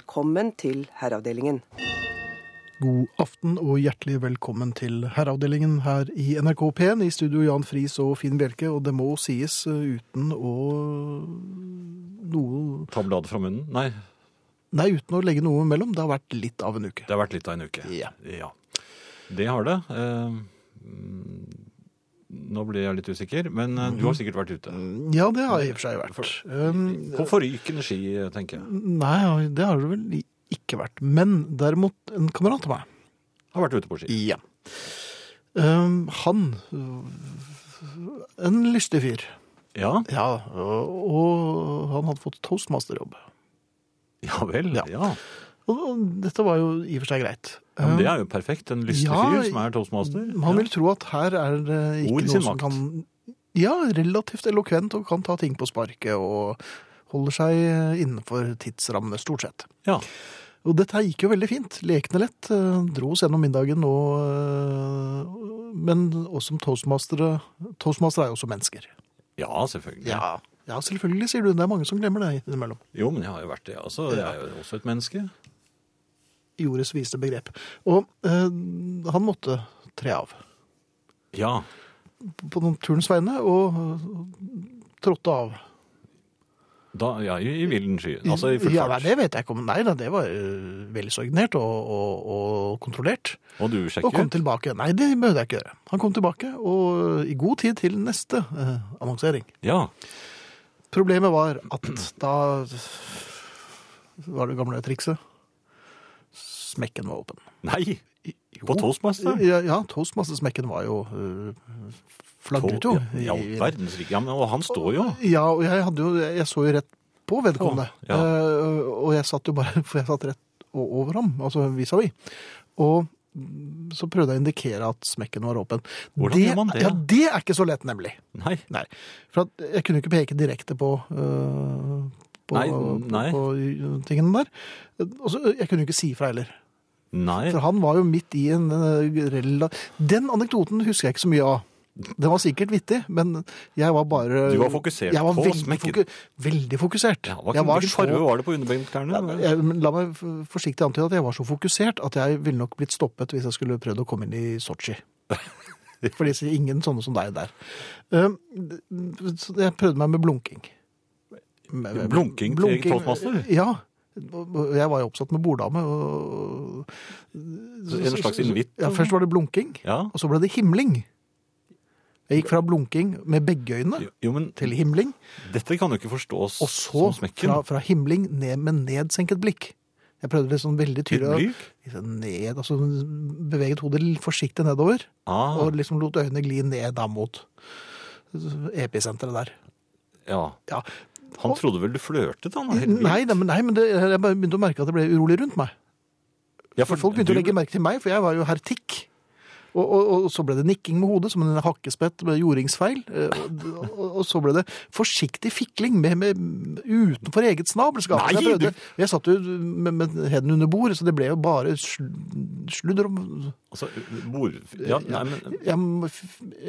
Velkommen til Herreavdelingen. God aften og hjertelig velkommen til Herreavdelingen her i NRK P1. I studio Jan Friis og Finn Bjelke, og det må sies eh, uten å noe Ta bladet fra munnen? Nei, Nei, uten å legge noe mellom. Det har vært litt av en uke. det har vært litt av en uke. Ja. Det har det. Eh, mm, Nå ble jeg litt usikker, men eh, du har sikkert vært ute. Ja, det har jeg i og for seg vært. Um, På forrykende ski, tenker jeg. nei, det har det vel ikke vært. Men derimot en kamerat av meg Har vært ute på ski. Ja. Um, han øh, En lystig fyr. Ja, Ja, og, og han hadde fått toastmasterjobb. ja vel. Ja. Ja. Og, og dette var jo i og for seg greit. Ja, men det er jo perfekt. En lystig Ja, fyr som er toastmaster. Man vil tro at her er det ikke Ord sin noe som makt. kan Ja, relativt elokvent og kan ta ting på sparket og holder seg eh, innenfor tidsrammene, stort sett. Ja. Ja. Og dette her gikk jo veldig fint. Lekende lett. eh, Dro oss gjennom middagen og eh, Men også som toastmastere Toastmastere er jo også mennesker. ja, selvfølgelig. Ja, selvfølgelig, sier du. Det er mange som glemmer det innimellom. Jo, men jeg har jo vært det, altså. Jeg er jo også et menneske. I ordets viste begrep. Og eh, han måtte tre av Ja. på den turens vegne, og eh, trådte av. Da, ja, i, i vilden sky. Altså i full ja, nei, fart. det vet jeg ikke om. Nei da, det var eh, veldig så ordinert og, og, og kontrollert. Og du Og sjekker kom ut? tilbake. Nei, det behøvde jeg ikke gjøre. Han kom tilbake, og i god tid til neste eh, annonsering. Ja. Problemet var at da var det gamle trikset. Smekken var åpen. Nei! Jo. På toastmaster? Ja, ja toastmastersmekken var jo øh, flagret jo. To- ja, Ja, i- verdensrike. Ja, men og han står jo. Ja, og jeg, hadde jo, jeg så jo rett på vedkommende. Å, ja. Eh, og jeg satt jo bare, for jeg satt rett o- over ham, altså vis-à-vis. Og mm, så prøvde jeg å indikere at smekken var åpen. Hvordan gjør man det? Ja, det er ikke så lett, nemlig. Nei. Nei, for at jeg kunne ikke peke direkte på, øh, på, Nei, nei. på, på tingene der. Og så, jeg kunne jo ikke si fra heller. Nei. For han var jo midt i en eh, rella... Den anekdoten husker jeg ikke så mye av. Den var sikkert vittig, men jeg var bare Du var fokusert jeg var på veldig smekken. veldig fokusert. Ja, hva, jeg var hvilken farge var det på underbekkenklærne? jeg, men La meg f- forsiktig antyde at jeg var så fokusert at jeg ville nok blitt stoppet hvis jeg skulle prøvd å komme inn i Sotsji. For det er ingen sånne som deg der. Um, så Jeg prøvde meg med blunking. Med- med- Blunking til egen toastmaster? Ja. Og Jeg var jo oppsatt med borddame. Og... En slags invitt? Ja, først var det blunking, Ja. og så ble det himling. Jeg gikk fra blunking med begge øynene Jo, Jo, men til himling, dette kan jo ikke forstås og så som smekken. fra, fra himling ned med nedsenket blikk. Jeg prøvde liksom veldig Litt tydelig å blyg? liksom ned, altså beveget hodet litt forsiktig nedover, Ah, og liksom lot øynene gli ned da mot episenteret der. ja. Ja. Han trodde vel du flørtet, han? helt vilt. Nei, nei, men- nei, men det, jeg bare begynte å merke at det ble urolig rundt meg. ja, For folk begynte å legge merke til meg, for jeg var jo hertikk. Og, og, og så ble det nikking med hodet, som en hakkespett med jordingsfeil. Eh, Og, og, og så ble det forsiktig fikling med, med, utenfor eget snabelskap. Så Nei, jeg, du- prøvde- jeg satt jo med, med heden under bordet, så det ble jo bare sl- sludder om Altså, bord... Ja, nei, men... jeg, må-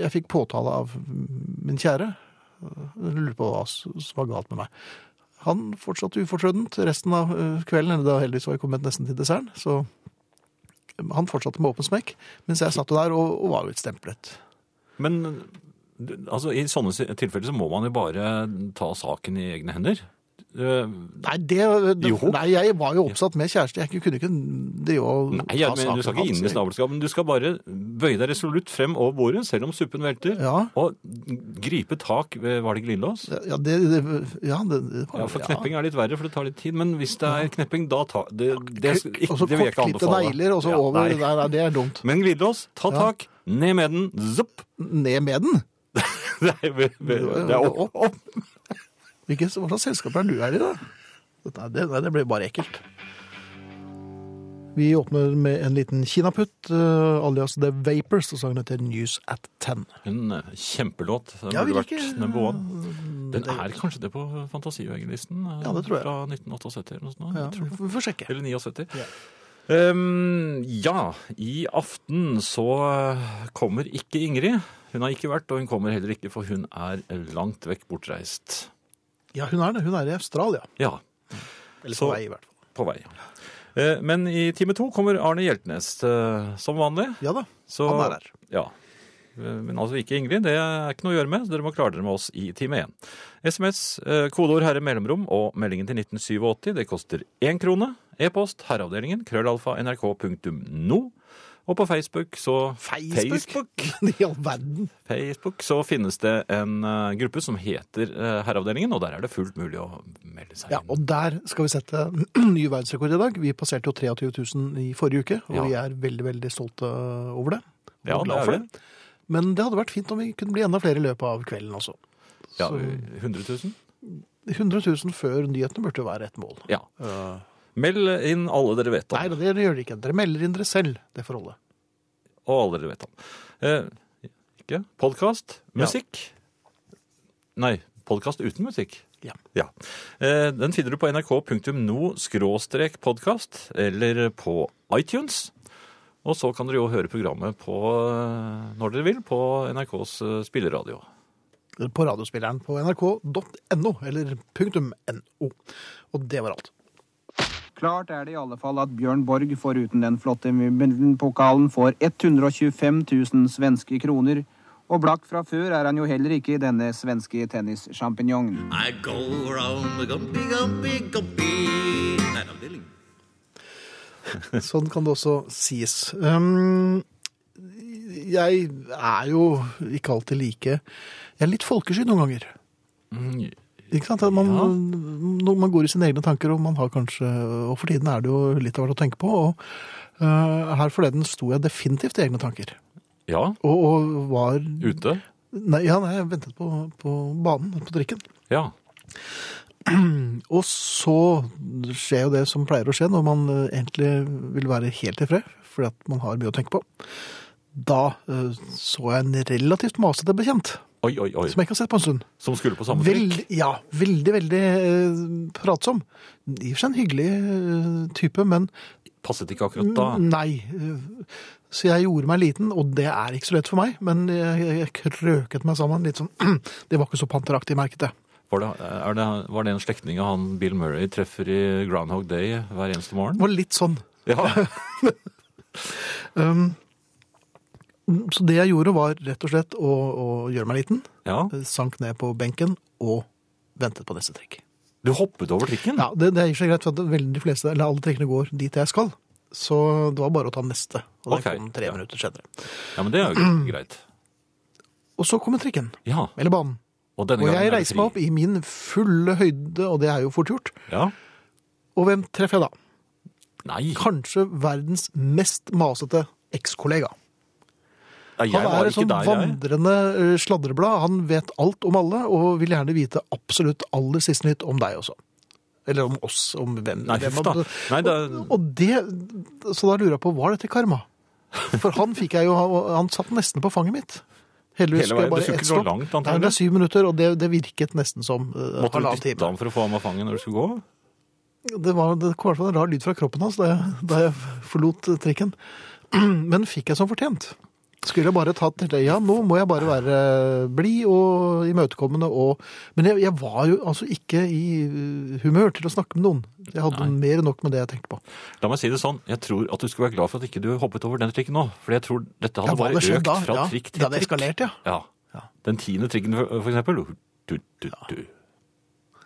jeg fikk påtale av min kjære. Jeg lurer på hva som var galt med meg. Han fortsatte ufortrødent resten av eh, kvelden, eller da heldigvis var jeg kommet nesten til desserten. Så eh, han fortsatte med åpen smekk, mens jeg satt jo der og, og var utstemplet. Men altså, i sånne tilfeller så må man jo bare ta saken i egne hender. Eh, Nei, det, det, Jo. nei, jeg var jo oppsatt med kjæreste. Jeg kunne ikke drive og Nei, jeg, men du skal ikke inn i hans. stabelskapet, men du skal bare bøye deg resolutt frem over bordet, selv om suppen velter, Ja. og gripe tak ved, var det glidelås? Ja, det, det, ja, det, det var- Ja, for ja. knepping er litt verre, for det tar litt tid, men hvis det er knepping, da ta Det, det, Kuk- ikke, Og så det vil jeg ikke kortklippte anbefale. negler, og så Ja, over. Nei. nei. Nei, det er dumt. Men glidelås, ta Ja. tak, ned med den, zopp! Ned med den! Det er, ve- ve- det er opp, opp. Hvilke, hva slags selskap er du her i, da? Dette, det, nei, det ble bare ekkelt. Vi åpner med en liten kinaputt, eh, alias The Vapors, og sangen heter News at Ten. En eh, kjempelåt. Den Ja, burde vært vi liker- Mm, number one. Den er kanskje det på Fantasivegenlisten eh, Ja, det tror jeg. fra 1978 eller noe sånt. Ja, jeg tror vi det. får- vi får sjekke. Eller 79. Ehm, ja, i aften så eh, kommer ikke Ingrid. Hun har ikke vært, og hun kommer heller ikke, for hun er langt vekk bortreist. Ja, hun er det. Hun er i Australia. Ja, Eller Så- på vei, i hvert fall. På vei. Eh, Men i time to kommer Arne Hjeltnes eh, som vanlig. Ja da. Så, Han er her. Ja. Eh, Men altså ikke Ingrid, det er ikke noe å gjøre med. så Dere må klare dere med oss i time 1. SMS, eh, kodeord herre mellomrom og meldingen til 1987. Det koster én krone. E-post herreavdelingen krøllalfa nrk.no. Og på Facebook så Facebook? Facebook, I all verden. Facebook så finnes det en eh, gruppe som heter eh, Herreavdelingen, og der er det fullt mulig å melde seg Ja, inn. og der skal vi sette ny verdensrekord i dag. Vi passerte jo 23 000 i forrige uke, og Ja. vi er veldig, veldig stolte øh, over det. Og Ja, glad det er for vi. det. Men det hadde vært fint om vi kunne bli enda flere i løpet av kvelden også. Ja, Så 100 000? 100 000 før nyhetene burde jo være et mål. Ja. Meld inn alle dere vet Nei, om. det gjør dere ikke. Dere melder inn dere selv, det får holde. Og alle dere vet om. Eh, ikke podkast, musikk Nei, podkast uten musikk. Ja. Eh, den finner du på nrk.no-podkast eller på iTunes. Og så kan dere jo høre programmet på, eh, når dere vil på NRKs eh, spilleradio. På radiospilleren på nrk.no, eller punktum .no. Og det var alt. Klart er det i alle fall at Bjørn Borg foruten den flotte Wimbledon-pokalen får 125 000 svenske kroner. Og blakk fra før er han jo heller ikke i denne svenske tennissjampinjongen. I go round the gumpy, gumpy, gumpy. Herreavdelingen. Sånn kan det også sies. Um, jeg er jo ikke alltid like Jeg er litt folkesky noen ganger. Mm, Ikke sant? At Man, Ja. når man går i sine egne tanker, og man har kanskje Og for tiden er det jo litt av hvert å tenke på. Og uh, her forleden sto jeg definitivt i egne tanker. Ja, Og, og var ute. Nei, ja, nei, jeg ventet på, på banen, på trikken. Ja. Og så skjer jo det som pleier å skje når man eh, egentlig vil være helt i fred, fordi at man har mye å tenke på. Da eh, så jeg en relativt masete bekjent, Oi, oi, oi. som jeg ikke har sett på en stund. Som skulle på samme trikk. Veldig, ja, veldig, veldig eh, pratsom. I og for seg en hyggelig eh, type, men Passet ikke akkurat da. nei. eh, Så jeg gjorde meg liten, og det er ikke så lett for meg, men jeg, jeg krøket meg sammen litt sånn. Det var ikke så panteraktig, merket jeg. Var det, er det, var det en slektning av han Bill Murray treffer i Groundhog Day hver eneste Det morgen? var litt sånn. Ja. Um, så det jeg gjorde var rett og slett å, å gjøre meg liten, ja. sank ned på benken og ventet på neste trikk. Du hoppet over trikken? Ja, det, det er i og for seg greit, for at veldig de fleste, eller alle trikkene går dit jeg skal. Så det var bare å ta neste, og den Ok, kom tre ja. minutter senere. Ja, men det er jo gre- greit. Og så kommer trikken, Ja, eller banen. og denne Og gangen jeg er det reiser meg opp fri. i min fulle høyde, og det er jo fort gjort. Ja. Og hvem treffer jeg da? Nei, Kanskje verdens mest masete ekskollega. Nei, jeg Han er var et ikke sånn der, jeg. vandrende eh, sladreblad. Han vet alt om alle, og vil gjerne vite absolutt aller siste nytt om deg også. Eller om oss, om hvem. Nei, hvem huff da. Nei, det, Og, og det, så da lurer jeg på, var dette karma? For han fikk jeg jo, han satt nesten på fanget mitt. Heldigvis Hele skal jeg veien. bare Det skulle ikke ett gå stopp. langt, Nei, antagelig. Det er syv minutter, og det, det virket nesten som eh, måtte du halvannen dytte time. ham for å få ham av fanget når du skulle gå? Det var det kom i hvert fall en rar lyd fra kroppen hans da jeg, da jeg forlot eh, trikken. Men fikk jeg som fortjent. Skulle jeg bare tatt hele Ja, nå må jeg bare være blid og imøtekommende og Men jeg, jeg var jo altså ikke i uh, humør til å snakke med noen. Jeg hadde Nei. mer enn nok med det jeg tenkte på. La meg si det sånn, jeg tror at du skulle være glad for at ikke du hoppet over den trikken nå. For jeg tror dette Ja, hadde hva bare hadde skjedd økt da? fra Ja, trikk til det hadde trikk. eskalert, ja. ja. Den tiende trikken, for for eksempel. Du, du, du.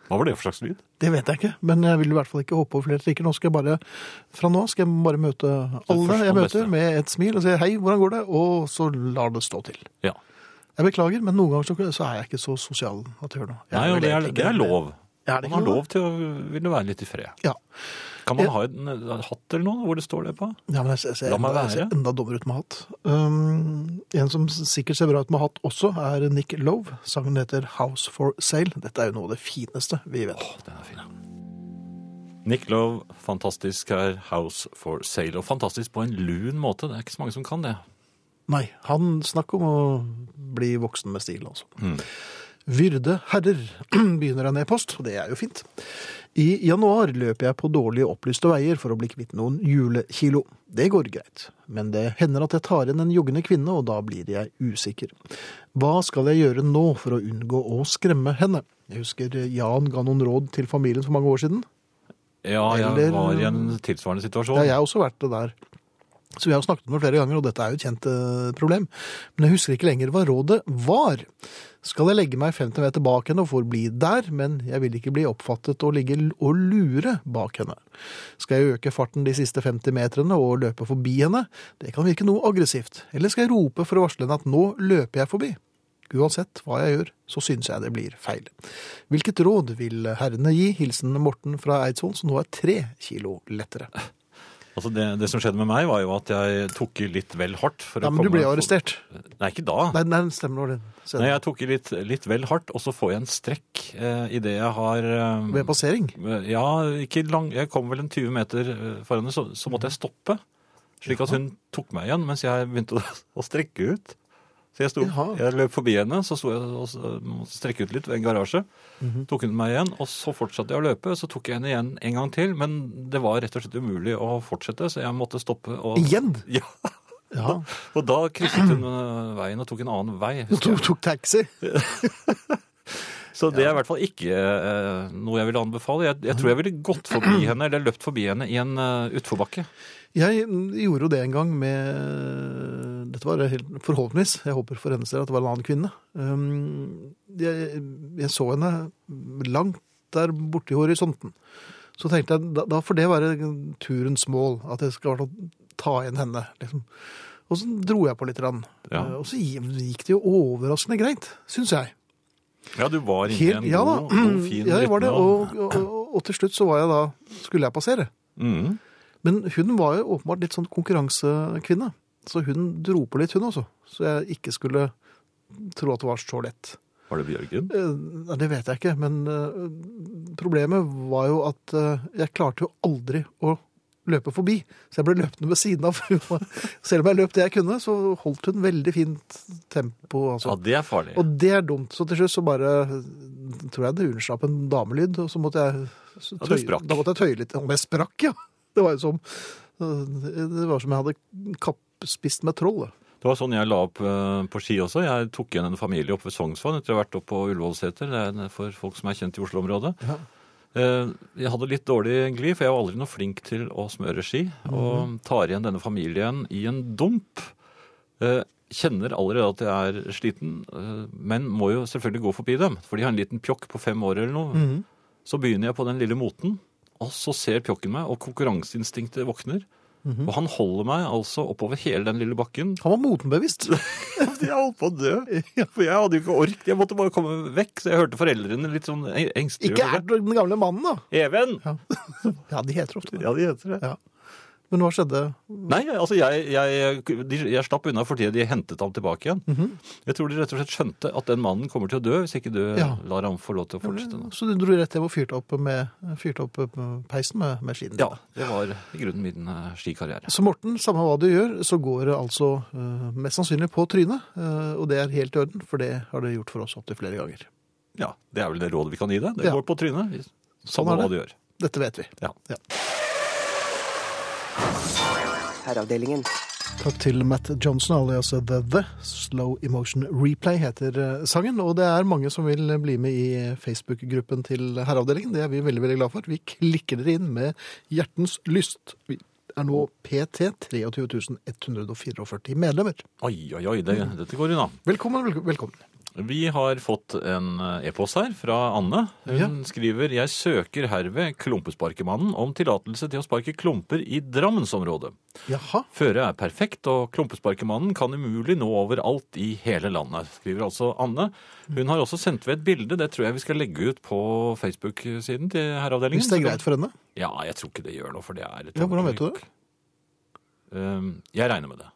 Hva var det for slags lyd? Det vet jeg ikke, men jeg vil i hvert fall ikke hoppe over flere trikker. Nå skal jeg bare, Fra nå skal jeg bare møte alle første jeg og møter beste. med et smil og si hei, hvordan går det? Og så lar det stå til. Ja. Jeg beklager, men noen ganger så- så er jeg ikke så sosial at jeg gjør noe. Jeg Nei, og vel det er, egentlig det er lov. Er det Man har ikke lov? lov til å ville være litt i fred. Ja. Kan man Ja. ha en en hatt eller noe hvor det står det på? ja, men jeg ser, jeg ser, La meg enda, jeg være. ser enda dummere ut med hatt. Um, en som sikkert ser bra ut med hatt også, er Nick Love. Sangen heter House for Sale. Dette er jo noe av det fineste vi vet. Å, Den er fin. ja. Nick Love, fantastisk her, House for Sale. Og fantastisk på en lun måte. Det er ikke så mange som kan det. Nei, han snakker om å bli voksen med stil, altså. Hmm. Vyrde herrer, begynner en e-post, og det er jo fint. I januar løper jeg på dårlig opplyste veier for å bli kvitt noen julekilo. Det går greit, men det hender at jeg tar inn en joggende kvinne, og da blir jeg usikker. Hva skal jeg gjøre nå for å unngå å skremme henne? Jeg husker Jan ga noen råd til familien for mange år siden. Ja, jeg Eller- var i en tilsvarende situasjon. Ja, jeg har også vært det der. Så vi har jo snakket om det flere ganger, og dette er jo et kjent eh, problem. Men jeg husker ikke lenger hva rådet var. Skal jeg legge meg 50 meter bak henne og forbli der, men jeg vil ikke bli oppfattet å ligge l- og lure bak henne. Skal jeg øke farten de siste 50 meterne og løpe forbi henne? Det kan virke noe aggressivt. Eller skal jeg rope for å varsle henne at nå løper jeg forbi? Uansett hva jeg gjør, så synes jeg det blir feil. Hvilket råd vil herrene gi? Hilsen Morten fra Eidsvoll, som nå er tre kilo lettere. Altså det, det som skjedde med meg, var jo at jeg tok i litt vel hardt. For Ja, å men du komme- ble jo arrestert. Nei, ikke da. Nei, nei stemmer det. Senere. Nei, jeg tok i litt, litt vel hardt, og så får jeg en strekk eh, i det jeg har eh, Ved passering. Ja, ikke lang Jeg kom vel en 20 meter eh, foran henne, så, så måtte jeg stoppe. Slik at hun tok meg igjen mens jeg begynte å, å strekke ut. Så jeg, sto, Jaha. jeg løp forbi henne, så sto jeg og s- måtte strekke ut litt ved en garasje. Tok hun meg igjen, og så fortsatte jeg å løpe. Så tok jeg henne igjen en gang til, men det var rett og slett umulig å fortsette, så jeg måtte stoppe. Og, Igjen? Ja, Ja. og da krysset hun eh, veien og tok en annen vei. Du husker jeg. tok, tok taxi. Så det er i hvert fall ikke eh, noe jeg ville anbefale. Jeg, jeg tror jeg ville gått forbi henne, eller løpt forbi henne i en eh, utforbakke. Jeg gjorde jo det en gang med Dette var helt, forhåpentligvis, jeg håper for hennes del, at det var en annen kvinne. Um, Jeg, jeg så henne langt der borte i horisonten. Så tenkte jeg, da, da får det være turens mål, at jeg skal i hvert fall ta igjen henne. Liksom. Og så dro jeg på litt. grann. Eh, Ja. Og så gikk det jo overraskende greit, syns jeg. Ja, du var inne i Helt, en ja da. god, god, fin ja, jeg var det. rytme. Og, og, og, og til slutt så var jeg da Skulle jeg passere? Mhm. Men hun var jo åpenbart litt sånn konkurransekvinne. Så hun dro på litt, hun også. Så jeg ikke skulle tro at det var så lett. Var det Bjørgen? Eh, nei, det vet jeg ikke, men eh, problemet var jo at eh, jeg klarte jo aldri å løpe forbi. Så jeg ble løpende ved siden av. Hun var- Selv om jeg løp det jeg kunne, så holdt hun veldig fint tempo. Altså. Ja, det er farlig. Og det er dumt. Så til slutt så bare eh, tror jeg det unnslapp en damelyd, og så måtte jeg så Ja, du sprakk. Da måtte jeg tøye litt. Om jeg sprakk, ja! Det var jo som eh, Det var som jeg hadde kappspist med troll. Det var sånn jeg la opp eh, på ski også. Jeg tok igjen en familie opp ved Sognsvann etter å ha vært oppe på Ullevålseter. Det er en- for folk som er kjent i Oslo-området. Ja. Eh, Jeg hadde litt dårlig gli, for jeg var aldri noe flink til å smøre ski. Og tar igjen denne familien i en dump. Eh, Kjenner allerede at jeg er sliten, eh, men må jo selvfølgelig gå forbi dem. For de har en liten pjokk på fem år eller noe. Så begynner jeg på den lille moten, og så ser pjokken meg, og konkurranseinstinktet våkner. Og han holder meg altså oppover hele den lille bakken. Han var motenbevisst. Jeg holdt på å dø. For jeg hadde jo ikke ork. Jeg måtte bare komme vekk. Så jeg hørte foreldrene litt sånn eng- engstelige. Ikke er den gamle mannen, da! Even! Ja, de heter ofte det. Ja, de heter det. Ja. Men hva skjedde? Nei, altså jeg, jeg, de, jeg slapp unna fordi de hentet ham tilbake igjen. Mhm. Jeg tror de rett og slett skjønte at den mannen kommer til å dø hvis ikke du Ja. lar ham få lov til å fortsette. nå. Så du dro rett hjem og fyrte opp, med, fyrte opp eh, peisen med, med skiene? Ja, det var i grunnen min eh, skikarriere. Så Morten, samme hva du gjør, så går det altså eh, mest sannsynlig på trynet. eh, og det er helt i orden, for det har det gjort for oss opptil flere ganger. Ja, Det er vel det rådet vi kan gi deg. Det Ja. går på trynet. Sånn er Samme hva det. du gjør. Dette vet vi. Ja. Ja. Herreavdelingen. Takk til Matt Johnson, alias The The. Slow Emotion Replay heter eh, sangen. Og det er mange som vil bli med i Facebook-gruppen til Herreavdelingen. Det er vi veldig veldig glad for. Vi klikker dere inn med hjertens lyst. Vi er nå PT 23.144 medlemmer. Oi, oi, oi. Det, dette går unna. Velkommen, velkommen. velkommen. Vi har fått en eh, e-post her fra Anne. Hun Ja. skriver «Jeg søker herved klumpesparkemannen om tillatelse til å sparke klumper i Drammensområdet. Jaha. Føret er perfekt, og klumpesparkemannen kan umulig nå overalt i hele landet», skriver altså Anne. Hun har også sendt ved et bilde, det tror jeg vi skal legge ut på Facebook-siden til herreavdelingen. Hvis det er greit for henne. Ja, jeg tror ikke det gjør noe, for det er... et Ja, hvordan vet du ordentlig- det? Um, Jeg regner med det.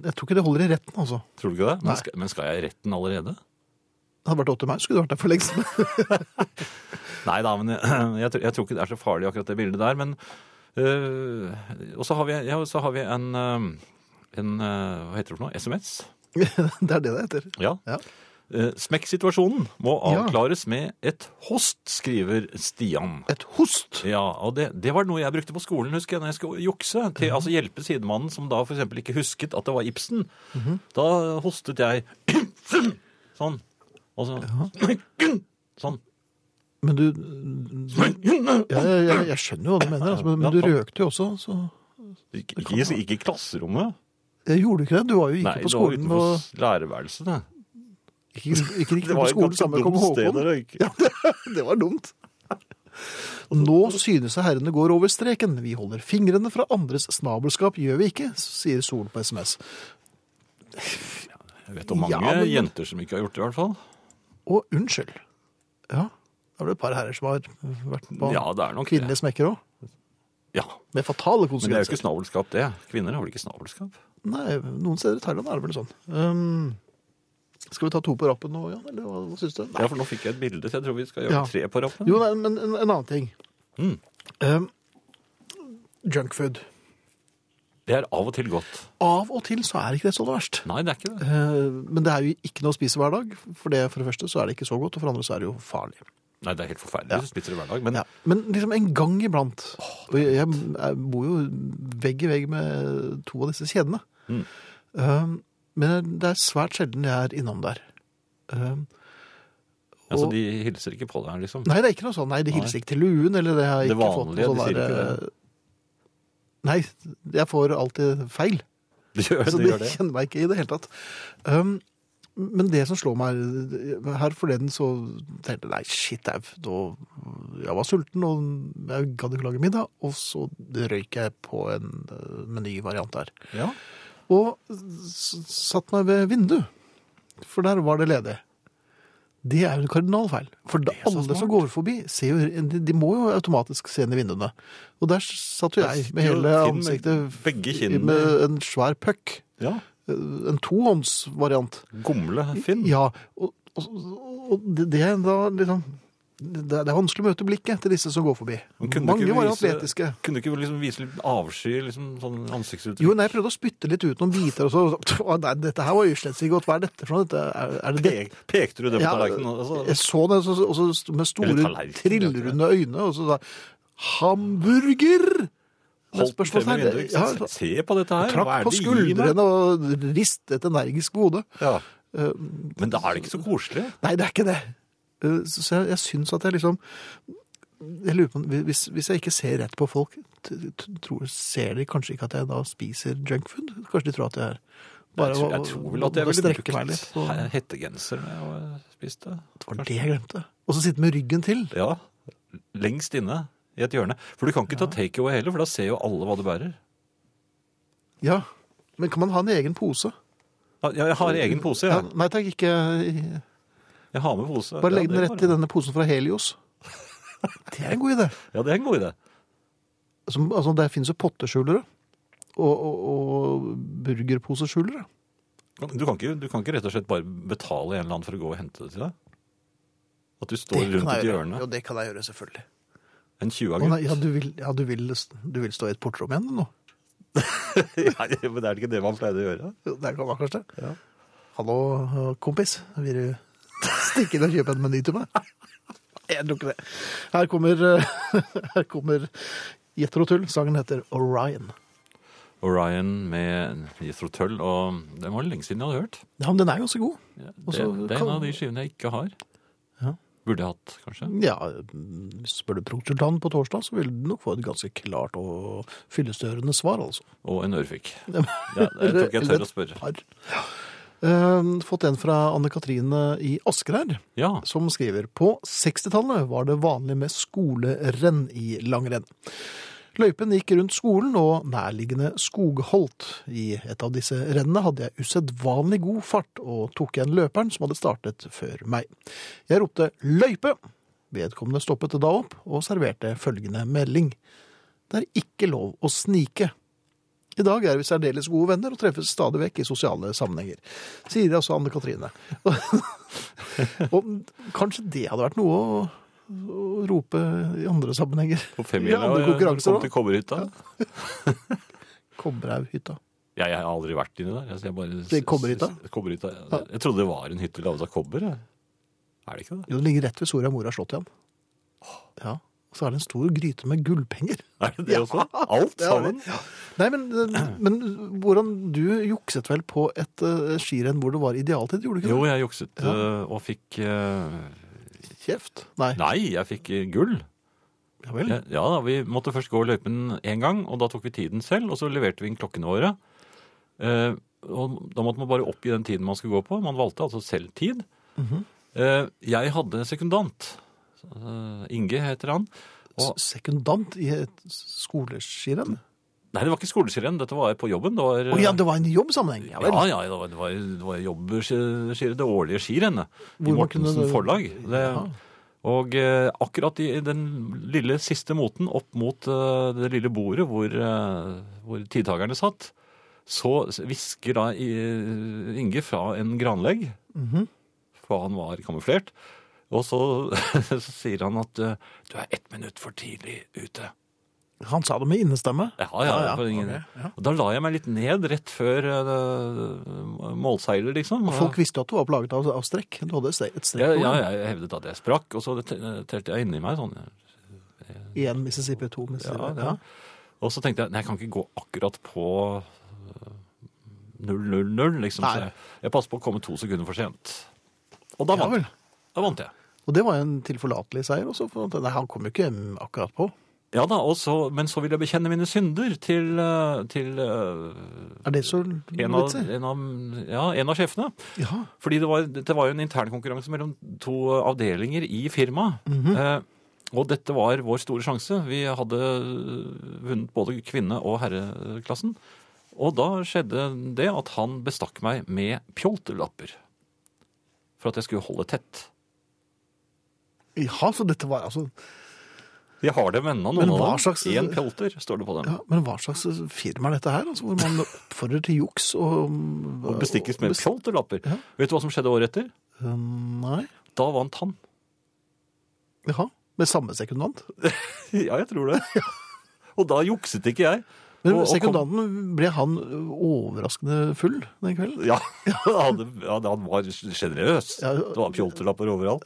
Jeg tror ikke det holder i retten, altså. Tror du ikke det? Nei. Men skal, men skal jeg i retten allerede? Det hadde vært opp til meg, skulle det vært der for lengst. Nei da, men jeg, jeg, tror- jeg tror ikke det er så farlig akkurat det bildet der. Men øh, Og så har vi, ja, og så har vi en, øh, en øh, Hva heter det for noe? SMS? det er det det heter. Ja. Ja. Eh, Smekksituasjonen må Ja. avklares med et host, skriver Stian. Et host. Ja, og det, det var noe jeg brukte på skolen, husker jeg, når jeg skulle jukse. Til, Mhm. Altså hjelpe sidemannen som da f.eks. ikke husket at det var Ibsen. Mhm. Da hostet jeg sånn. Og så sånn. Men du, du ja, jeg, jeg, jeg skjønner jo hva du mener, altså, men, men du røkte jo også, så Ikke, ikke, ikke i klasserommet. Jeg gjorde ikke det. Du var jo ikke Nei, på det var skolen utenfor og lærerværelset. det. Ikke, ikke riktig Det på var et skolen ganske sammen med kong dumt sted Håkon. å røyke. Ja, det, det var dumt. Nå synes jeg herrene går over streken. Vi holder fingrene fra andres snabelskap, gjør vi ikke, sier Sol på SMS. Jeg vet om mange Ja, men- jenter som ikke har gjort det, i hvert fall. Og unnskyld. Ja, da er det et par herrer som har vært på Ja, det er nok det. kvinnelige smekker òg. Ja, Med fatale Men det er jo ikke konsekvenser. snabelskap, det. Kvinner har vel ikke snabelskap? Nei, noen steder i Thailand er det vel sånn. Um, skal vi ta to på rappen nå, Jan? Eller hva, hva syns du? Ja, for nå fikk jeg et bilde, så jeg tror vi skal gjøre Ja. tre på rappen. Jo, nei, men en, en annen ting. Um, Junkfood. Det er av og til godt. Av og til så er ikke det så verst. Nei, det er ikke det. Eh, Men det er jo ikke noe å spise hver dag. For det, for det første så er det ikke så godt, og for det andre så er det jo farlig. Nei, det er helt forferdelig. Du spiser det hver dag. Men Ja. Men liksom en gang iblant. Og jeg, jeg bor jo vegg i vegg med to av disse kjedene. Um, Men det er svært sjelden jeg er innom der. Um, altså, og- de hilser ikke på deg, liksom. Nei, det er ikke noe sånn. Nei, det hilser ikke til luen, eller det har jeg Det ikke fått vanlige, noe sånn de sier der, ikke eh, Nei, jeg får alltid feil. De gjør, Så de det gjør det. kjenner meg ikke i det hele tatt. Um, men det som slår meg Her forleden så tenkte jeg nei, shit au. da- Jeg var sulten, og jeg gadd ikke lage middag. Og så røyk jeg på en eh, menyvariant der. Ja. Og s- satt meg ved vinduet, for der var det ledig. Det er jo en kardinalfeil. For da, er så alle som smart. går forbi, ser jo, de, de må jo automatisk se inn i vinduene. Og der satt jo Der jeg sitter med jo hele Finn med ansiktet begge kinnene. med en svær puck. Eh, ja. En tohåndsvariant. Gomle Finn. Ja, og, og, og det, det er da liksom det er, det er vanskelig å møte blikket til disse som går forbi. Men kunne du Mange ikke var jo vise- atletiske. Kunne du ikke liksom vise litt avsky, liksom sånn ansiktsuttrykk? Jo, nei, jeg prøvde å spytte litt ut noen biter, og så, og så «Å, Nei, dette her var jo slett ikke godt. Hva er dette for noe? Dette, er, er det det? Pek, pekte du det på Ja, tallerkenen? Altså, Jeg så det så, og så st- med Eller store, tallerken, trillrunde øyne, og så sa jeg, 'Hamburger!' Med holdt den frem i spørsmålstegn. vinduet? ikke sant? Ja, Se på dette her. Trakk på skuldrene og ristet energisk på hodet. Ja. Eh, Men da er det ikke så koselig. Nei, det er ikke det. Eh, Så så jeg, jeg syns at jeg liksom jeg lurer på, om- hvis, hvis jeg ikke ser rett på folk, t- t- tror, ser de kanskje ikke at jeg da spiser junkfood? Kanskje de tror at jeg er jeg, tror, jeg tror vel at jeg å ville strekke meg brukt litt. på- he- hettegenser når jeg spiste. Det var det jeg glemte. Og så sitte med ryggen til. Ja, lengst inne i et hjørne. For du kan ikke ta takeaway heller, for da ser jo alle hva du bærer. Ja. Men kan man ha en egen pose? Ja, jeg har egen pose, Ja. jeg. Nei takk, ikke Jeg har med pose. Bare Ja, legg den det rett går i denne posen fra Helios. Det er en god idé. an. Ja, det er en god idé. Som, altså, der finnes jo potteskjulere. Og, og, og burgerposeskjulere. Du kan, ikke, du kan ikke rett og slett bare betale en eller annen for å gå og hente det til deg? At du står Det kan rundt jeg et gjøre. hjørne? Jo, det kan jeg gjøre, selvfølgelig. En Å, nei, ja, 20-gutt? du vil, ja du, vil, du vil stå i et portrom igjen nå? Ja, men det er ikke det man pleide å gjøre? Jo, Det kan man kanskje. Hallo, eh, kompis. Vil du stikke inn og kjøpe en meny til meg? Jeg tror ikke det. Her kommer, eh, her kommer Jetter og Tull. Sangen heter Orion. Orion med Jethro Tull, og det var lenge siden jeg hadde hørt. Ja, men den er ganske god. Ja, Og det, så det er kan- en av de skivene jeg ikke har. Ja. Burde jeg hatt, kanskje. Ja, spør du Prokultan på torsdag, så vil du nok få et ganske klart og fyllestgjørende svar, altså. Og en ørefik. Ja, jeg tror ikke jeg Eller tør å spørre. et par. Eh, Fått en fra Anne Katrine i Asker her. Ja, som skriver på 60-tallet var det vanlig med skolerenn i langrenn. Løypen gikk rundt skolen og nærliggende skogholt. I et av disse rennene hadde jeg usedvanlig god fart og tok igjen løperen som hadde startet før meg. Jeg ropte 'løype'. Vedkommende stoppet da opp og serverte følgende melding. Det er ikke lov å snike. I dag er vi særdeles gode venner og treffes stadig vekk i sosiale sammenhenger. Sier altså Anne Katrine. Og kanskje det hadde vært noe å, å rope i andre sammenhenger. I på andre femmila konkurranser kom til òg. kobberhytta. Kobberhaughytta. Ja, jeg har aldri vært inni der. altså, Jeg, jeg bare, Det er kobberhytta? Kobberhytta, ja. Jeg trodde det var en hytte laget av kobber. jeg. Er det ikke det? Jo, det ligger rett ved Soria Moria slott igjen. Ja. Og så er det en stor gryte med gullpenger. Er det det også? Alt det er sammen? Nei, men, men hvordan du jukset vel på et eh, skirenn hvor det var idealtid, gjorde du ikke Jo, det? jeg jukset eh, og fikk eh, Kjeft? Nei. Nei, jeg fikk eh, gull. Ja vel. Ja, ja da, Vi måtte først gå løypen én gang, og da tok vi tiden selv. Og så leverte vi inn klokkene våre. Eh, og Da måtte man bare oppgi den tiden man skulle gå på. Man valgte altså selv tid. Mhm. eh, jeg hadde sekundant. Eh, Inge heter han. Og, S- Sekundant i et skoleskirenn? nei, det var ikke skoleskirren, dette var på jobben. Det var, Å ja, det var en jobbsammenheng. ja, ja, ja, det var, det var, det var jobbskirenn, det årlige skirennet. I Hvor man kunne- Mortensen Forlag. Det, Ja. Og eh, akkurat i i den lille siste moten opp mot eh, det lille bordet hvor, eh, hvor tidtagerne satt, så hvisker da i- Inge fra en granlegg, for han var kamuflert, og så, så sier han at eh, du er ett minutt for tidlig ute. Han sa det med innestemme. Ja, ja, Ja, ja, for ingen... ok, ja. Og da la jeg meg litt ned rett før eh, målseiler, liksom. Folk visste jo at du var plaget av, av strekk. Du hadde et stre- et strekk Ja, på ja, gang. jeg hevdet at jeg sprakk, og så te- telte jeg inni meg sånn. Én Mississippi, to Mississippi. Ja, Ja, ja. Og så tenkte jeg, nei, jeg kan ikke gå akkurat på øh, 000, liksom. Nei. Så jeg, jeg passet på å komme to sekunder for sent. Og da Ja vant, vel. da vant jeg. Og det var jo en tilforlatelig seier også. For at- nei, han kom jo ikke mm, akkurat på. Ja da, og så- men så vil jeg bekjenne mine synder til, øh, til øh, Er det så en, av, vitsig? en, av, ja, en av sjefene. Ja. Fordi det var, dette var jo en internkonkurranse mellom to avdelinger i firmaet. Mhm. eh, og dette var vår store sjanse. Vi hadde eh, vunnet både kvinne- og herreklassen. Og da skjedde det at han bestakk meg med pjolterlapper. For at jeg skulle holde tett. ja, så dette var altså Jeg har dem ennå, Men noen hva av dem. slags- Én pjolter, står det på dem. ja, Men hva slags firma er dette her? Altså, hvor man oppfordrer til juks og Og bestikkes med best- pjolterlapper. Ja. Vet du hva som skjedde året etter? Eh, Nei. Da vant han. Jaha. Med samme sekundant? Ja, jeg tror det. Og da jukset ikke jeg. Men Og- og kom- sekundanten, ble han overraskende full den kvelden? Ja, han, ja, han var sjenerøs. Ja, Det var pjolterlapper overalt.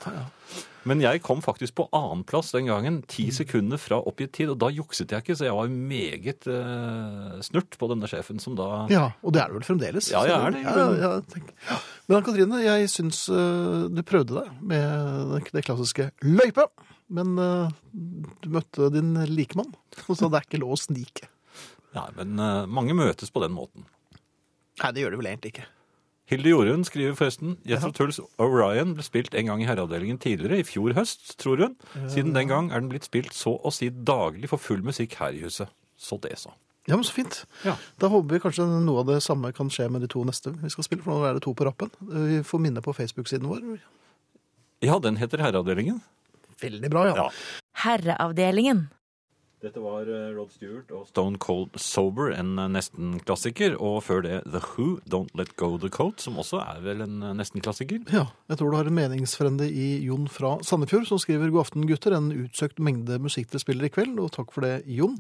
Men jeg kom faktisk på annenplass den gangen, ti Mm. sekunder fra oppgitt tid, og da jukset jeg ikke, så jeg var meget eh, snurt på denne sjefen som da Ja, og det er det vel fremdeles? Ja, jeg er det, i Ja, grunnen. ja, jeg tenker- ja. Men Ann-Katrine, jeg syns eh, du prøvde deg med det- det klassiske løype. Men eh, du møtte din likemann, og sa det er ikke lov å snike. Nei, men eh, mange møtes på den måten. Nei, det gjør det vel egentlig ikke. Hilde Jorunn skriver forresten Jethro Tulls Orion ble spilt en gang i herreavdelingen tidligere, i fjor høst, tror hun. Siden den gang er den blitt spilt så å si daglig for full musikk her i huset. Så det, så. Ja, men så fint. Ja. Da håper vi kanskje noe av det samme kan skje med de to neste vi skal spille, for nå er det to på rappen. Eh, Vi får minne på Facebook-siden vår. Ja, den heter Herreavdelingen. Veldig bra, ja. Ja. Herreavdelingen. Dette var eh, Rod Stewart og Stone Cold Sober, en eh, nesten-klassiker. Og før det The Who, Don't Let Go The Coat, som også er vel en eh, nesten-klassiker. Ja, jeg tror du har en meningsfrende i Jon fra Sandefjord, som skriver God aften, gutter. En utsøkt mengde musikk dere spiller i kveld, og takk for det, Jon.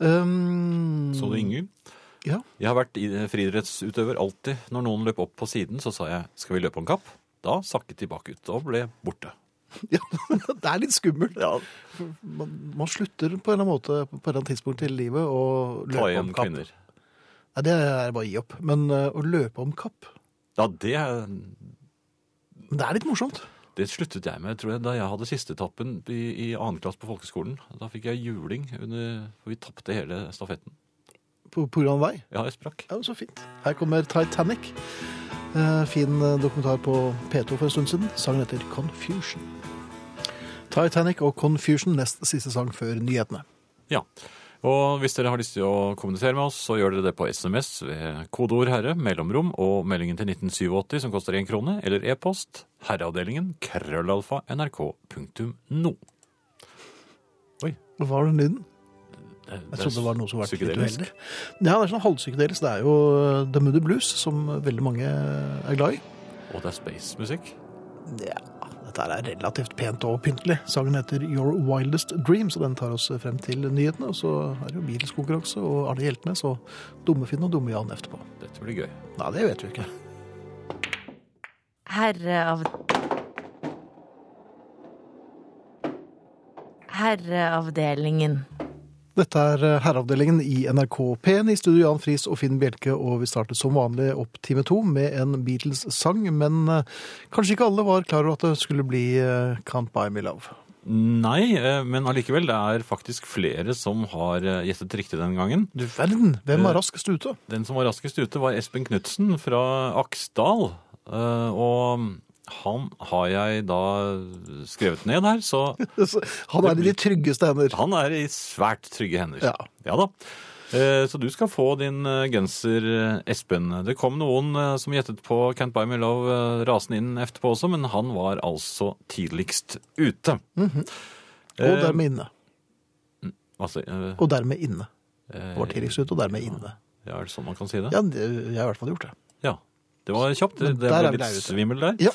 Um, Så du Inger? Ja. Jeg har vært i- eh, friidrettsutøver alltid. Når noen løp opp på siden, så sa jeg 'skal vi løpe om kapp'? Da sakket de bakut og ble borte. ja, det er litt skummelt. Man, man slutter på en eller annen måte på et eller annet tidspunkt i livet å Ta løpe om igjen kapp. kvinner. Nei, det er bare å gi opp. Men eh, å løpe om kapp, Ja, det, men det er litt morsomt. det sluttet jeg med, tror jeg, da jeg hadde sisteetappen i, i annen klasse på folkeskolen. Da fikk jeg juling, under, for vi tapte hele stafetten. På, på grunn av deg. Ja, jeg sprakk. Ja, men så fint. Her kommer Titanic. Eh, Fin eh, dokumentar på P2 for en stund siden. Sangen heter Confusion. Titanic og Confusion, nest siste sang før nyhetene. Ja. Og hvis dere har lyst til å kommunisere med oss, så gjør dere det på SMS ved kodeord 'herre', mellomrom og meldingen til 1987 som koster én krone, eller e-post herreavdelingen krøllalfa nrk.no. Hva var den lyden? Jeg trodde det var noe som var litt psykedelisk. uheldig. Ja, det er sånn halvpsykedelisk. Det er jo eh, The Moody Blues, som veldig mange eh, er glad i. Og det er spacemusikk. Ja, dette her er relativt pent og pyntelig. Sangen heter Your Wildest Dreams, og den tar oss frem til nyhetene. Og så er det jo bilskonkurranse og Arne Hjeltnes og Dummefinn og Dumme-Jan etterpå. Dette blir gøy. Nei, det vet vi ikke. Herreav... Herreavdelingen. Dette er eh, herreavdelingen i NRK P1 i studio Jan Friis og Finn Bjelke, og vi startet som vanlig opp time to med en Beatles-sang, men eh, kanskje ikke alle var klar over at det skulle bli eh, Can't Buy Me Love. Nei, eh, men allikevel, det er faktisk flere som har eh, gjettet riktig den gangen. Du verden, hvem er raskest ute? Den som var raskest ute var Espen Knudsen fra Aksdal, eh, og han har jeg da skrevet ned her, så Han er i de tryggeste hender. han er i svært trygge hender. Ja. da. Eh, Så du skal få din eh, genser, eh, Espen. Det kom noen eh, som gjettet på Can't Buy Me Love eh, rasen inn etterpå også, men han var altså tidligst ute. Mhm. Og dermed inne. Altså, eh, Og dermed inne. Det var tidligst ute, og dermed inne. ja, er det sånn man kan si det? Ja, det- jeg har i hvert fall gjort det. Ja. Det var kjapt. Det Men der er ble vi litt der ute. svimmel der. Ja.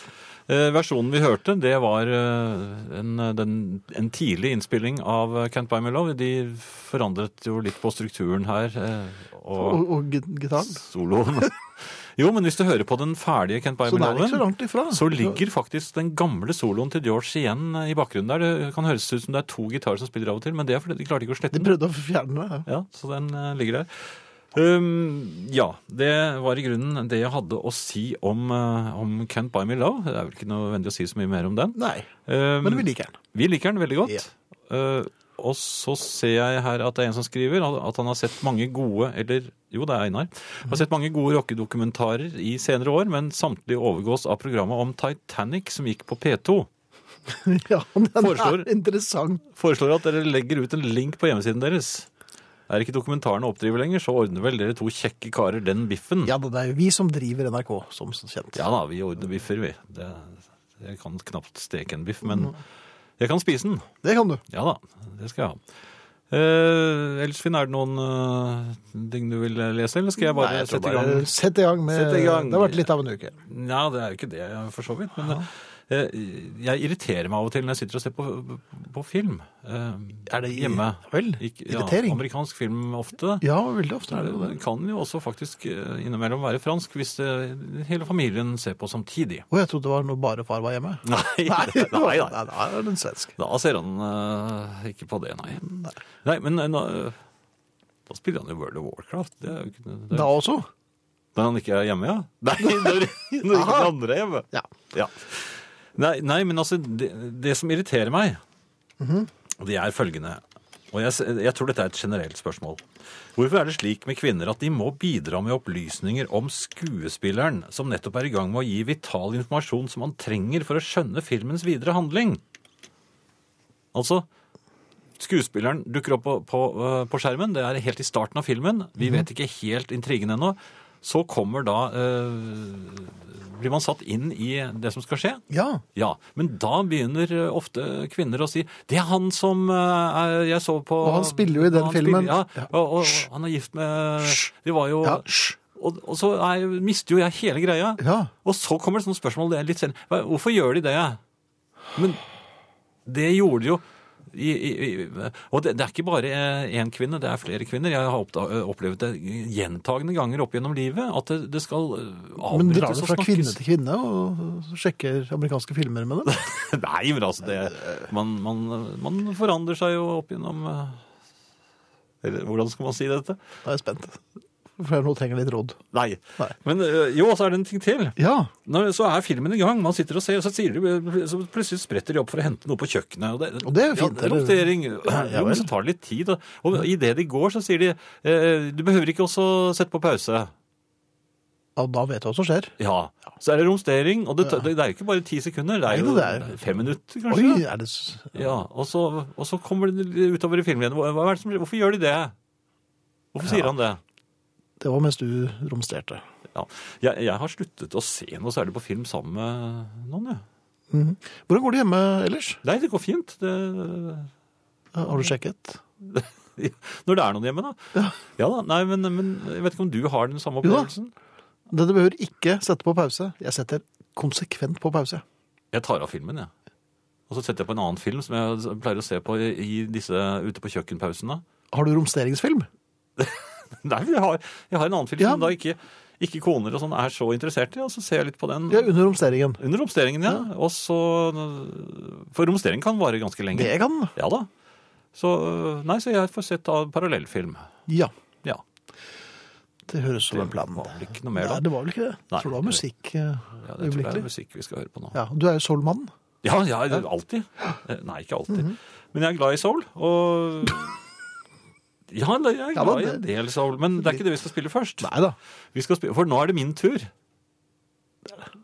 Eh, Versjonen vi hørte, det var eh, en, den, en tidlig innspilling av eh, Can't Buy Me Love. De forandret jo litt på strukturen her. eh, Og, Og og git- gitaren. soloen. Jo, men hvis du hører på den ferdige Can't Buy Så Me det er ikke så Love-en, langt ifra. så ligger faktisk den gamle soloen til George igjen eh, i bakgrunnen der. Det kan høres ut som det er to gitarer som spiller av og til, men det er fordi de klarte ikke å De slette den. prøvde å fjerne det. Ja, så den eh, ligger der. Um, ja, det var i grunnen det jeg hadde å si om, eh, om Can't Buy Me Love. Det er vel ikke nødvendig å si så mye mer om den. Nei, Um, men vi liker den. vi liker den veldig godt. Eh, og så ser jeg her at det er en som skriver at han har sett mange gode eller jo, det er Einar. Har sett mange gode rockedokumentarer i senere år, men samtlige overgås av programmet om Titanic som gikk på P2. Ja, men den Foreslår- er interessant. Foreslår at dere legger ut en link på hjemmesiden deres. Er ikke dokumentaren å oppdrive lenger, så ordner vel dere to kjekke karer den biffen. Ja, det er jo vi som driver NRK, som kjent. Ja da, vi ordner biffer, vi. Det, jeg kan knapt steke en biff, men jeg kan spise den. Det kan du. Ja da, det skal jeg ha. Eh, ellers, Finn, er det noen eh, ting du vil lese, eller skal jeg bare Nei, jeg tror sette i bare- gang? Sett i gang med Sett i gang. Det har vært litt av en uke. Nja, det er jo ikke det, for så vidt. Men eh, jeg irriterer meg av og til når jeg sitter og ser på, på film. Eh, Er det i- hjemme? Vel, Ikke- irritering? Ja, amerikansk film ofte. Ja, veldig ofte er det jo Det det. kan jo også faktisk eh, innimellom være fransk hvis eh, hele familien ser på samtidig. Å, jeg trodde det var når bare far var hjemme. Nei, Nei, nei, nei, nei, da er den svensk. Da ser han eh, ikke på det, nei. Nei, men eh, nå, eh, da spiller han jo World of Warcraft. Det er jo ikke, det er, Da også? Når han ikke er hjemme, ja? Nei, når, når ikke de andre er hjemme. Ja. Ja. Nei, nei, men altså, det, det som irriterer meg, det er følgende. Og jeg, s- jeg tror dette er et generelt spørsmål. Hvorfor er det slik med kvinner at de må bidra med opplysninger om skuespilleren, som nettopp er i gang med å gi vital informasjon som man trenger for å skjønne filmens videre handling? Altså, skuespilleren dukker opp på, på, øh, på skjermen, det er helt i starten av filmen, vi vet ikke helt intrigen ennå. Så kommer da øh, Blir man satt inn i det som skal skje? Ja. Ja, men da begynner eh, ofte kvinner å si Det er han som eh, er- jeg så på Og han spiller jo i den han filmen. ja, og, og han er gift med De var jo Ja, hysj. og, og så er, jo- mister jo jeg hele greia. Ja. Og så kommer det sånne spørsmål det er litt senere. Hva- Hvorfor gjør de det? Men det gjorde de jo i, i, i, og det, det er ikke bare eh, én kvinne, det er flere kvinner. Jeg har oppda, opplevd det gjentagende ganger opp gjennom livet. At det, det skal eh, Men drar avbrytes du og fra kvinne snakkes. til kvinne og sjekker amerikanske filmer med dem? Nei, men altså det, man, man, man forandrer seg jo opp gjennom eh, Eller hvordan skal man si dette? Da er jeg spent. For nå trenger jeg litt råd. Nei. Nei. Men eh, jo, så er det en ting til. Ja. Når, så er filmen i gang. Man sitter og ser, og så, sier de, så plutselig spretter de opp for å hente noe på kjøkkenet. Og det, Og det er jo fint, Ja, det er eller? rotering. ja jo, vel. men så tar det litt tid. Og, og idet de går, så sier de eh, Du behøver ikke også sette på pause. Og da vet du hva som skjer. Ja. Så er det romstering. Og det, det, er jo ikke bare ti sekunder. Det Nei, er jo det er- fem minutter, kanskje. Oi, er det s- Ja, og så, og så kommer det utover i filmen igjen. Hva hva er det som, hvorfor gjør de det? Hvorfor sier han det? Det var mens du romsterte. Ja. Jeg, jeg har sluttet å se noe særlig på film sammen med noen, jeg. Mhm. Hvordan går det hjemme ellers? Nei, det går fint. Det, Har du sjekket? når det er noen hjemme, da. Ja, da, nei, men, men jeg vet ikke om du har den samme Jo da. opplevelsen? Dette behøver ikke sette på pause. Jeg setter konsekvent på pause. Jeg tar av filmen, jeg. Og så setter jeg på en annen film som jeg pleier å se på i i disse ute på kjøkkenpausene. Har du romsteringsfilm? Nei, jeg har, jeg har en annen film Ja. som da ikke, ikke koner og sånn er så interessert i, og så ser jeg litt på den. Ja, under romsteringen. Under romsteringen, ja. Og så For romstering kan vare ganske lenge. Det kan den. Ja da. Så, øh, nei, så jeg får sett av parallellfilm. Ja, Ja. det høres som en plan. Det var vel ikke noe mer Nei, da. det var vel ikke det. Nei, Jeg tror det var det- musikk Ja, eh, jeg tror det er øyeblikkelig. musikk vi skal høre på nå. Ja, du er jo soulmannen. Ja, ja, det- alltid. Eh, Nei, ikke alltid. Mhm. Men jeg er glad i soul, og Ja, jeg er Ja, glad i men en del soul, men det er ikke det vi skal spille først. Nei da. Vi skal spille, for nå er det min tur.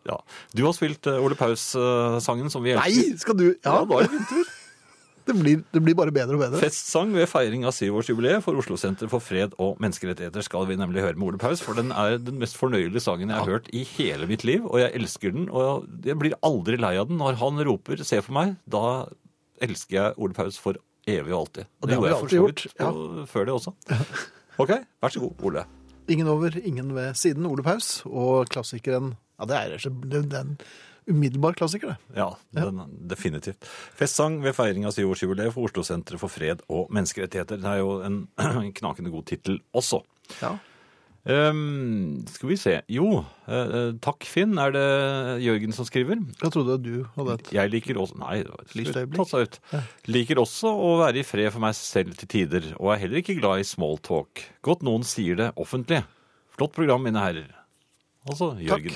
Ja. Du har spilt eh, Ole Paus-sangen som vi Nei, elsker. skal du Ja, Ja, nå er det min tur. det blir, det blir bare bedre og bedre. Festsang ved feiring av syvårsjubileet for Oslo Senter for fred og menneskerettigheter skal vi nemlig høre med Ole Paus, for den er den mest fornøyelige sangen jeg har hørt i hele mitt liv, og jeg elsker den, og jeg blir aldri lei av den. Når han roper 'se på meg', da elsker jeg Ole Paus for evig og alltid. Og det har gjorde vi jeg for så alltid vidt gjort, ja. på- før det også. Ok, vær så god, Ole. Ingen over, ingen ved siden, Ole Paus. Og klassikeren Ja, det er, det er en umiddelbar klassiker, det. Ja, den, definitivt. Festsang ved feiring av syvårsjubileet for Oslo Senter for fred og menneskerettigheter. Det er jo en, en knakende god tittel også. Ja. Ehm, skal vi se. Jo, eh, eh, takk Finn, er det Jørgen som skriver. Jeg trodde at du hadde et Jeg liker også Nei, det var et Lyst øyeblikk. tatt seg ut. Liker også å være i fred for meg selv til tider, og er heller ikke glad i small talk. Godt noen sier det offentlig. Flott program, mine herrer. Altså Jørgen.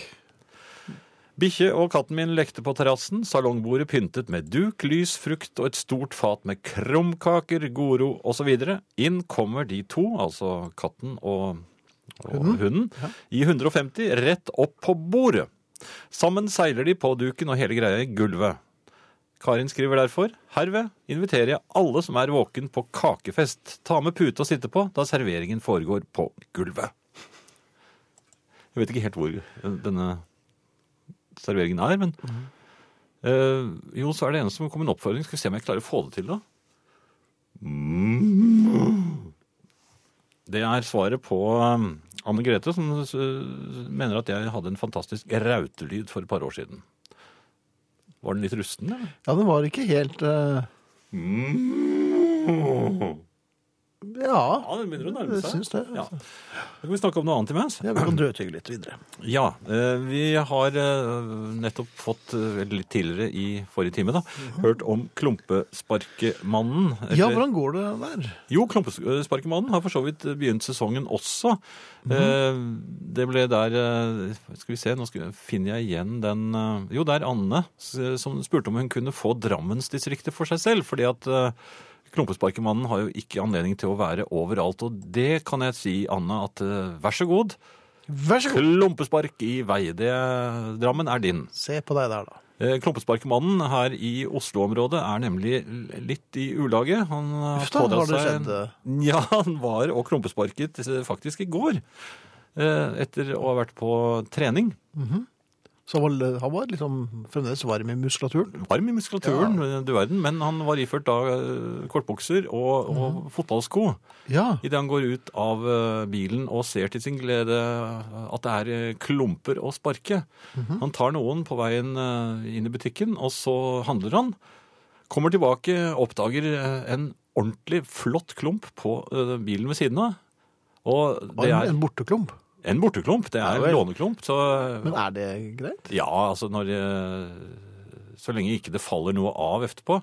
Bikkje og katten min lekte på terrassen, salongbordet pyntet med duk, lys, frukt og et stort fat med krumkaker, goro osv. Inn kommer de to, altså katten og, og hunden, i 150 rett opp på bordet. Sammen seiler de på duken og hele greia i gulvet. Karin skriver derfor herved inviterer jeg alle som er våken på kakefest. Ta med pute å sitte på da serveringen foregår på gulvet. Jeg vet ikke helt hvor eh, denne serveringen er, men eh, Jo, så er det en som kom med en oppfordring. Skal vi se om jeg klarer å få det til, da. Det er svaret på um, Anne Grete, som uh, mener at jeg hadde en fantastisk rautelyd for et par år siden. Var den litt rusten, eller? Ja, den var ikke helt eh, Mm. Ja, Ja, den begynner å nærme jeg seg. syns det. altså. Ja. Da kan vi snakke om noe annet imens. Ja, vi kan drøytygge litt videre. Ja, eh, vi har eh, nettopp fått, eh, eller litt tidligere i forrige time, da, hørt om Klumpesparkemannen. Ja, eller- hvordan går det der? Jo, Klumpesparkemannen har for så vidt eh, begynt sesongen også. Eh, Det ble der eh, Skal vi se, nå skal, finner jeg igjen den eh, Jo, det er Anne s- som spurte om hun kunne få Drammensdistriktet for seg selv. fordi at eh, Klumpesparkemannen har jo ikke anledning til å være overalt. Og det kan jeg si, Anne, at eh, vær så god. Vær så god. Klumpespark i vei. Det, Drammen er din. Se på deg der, da. Eh, Klumpesparkmannen her i Oslo-området er nemlig l- litt i ulage. Han har Uff da, pådratt har det seg en- skjedd, eh? Ja, han var og klumpesparket eh, faktisk i går. eh, Etter å ha vært på trening. Så han var, han var liksom fremdeles varm i muskulaturen. Varm i muskulaturen, eh, du verden, men han var iført da eh, kortbukser og, Mhm. og fotballsko. Ja. Idet han går ut av eh, bilen og ser til sin glede eh, at det er eh, klumper å sparke. Mhm. Han tar noen på veien eh, inn i butikken, og så handler han. Kommer tilbake, oppdager eh, en ordentlig flott klump på eh, bilen ved siden av. Og Og det en, er en borteklump. en borteklump, det er Ja en vel. låneklump. Så Men er det greit? ja, altså når eh, Så lenge ikke det faller noe av etterpå.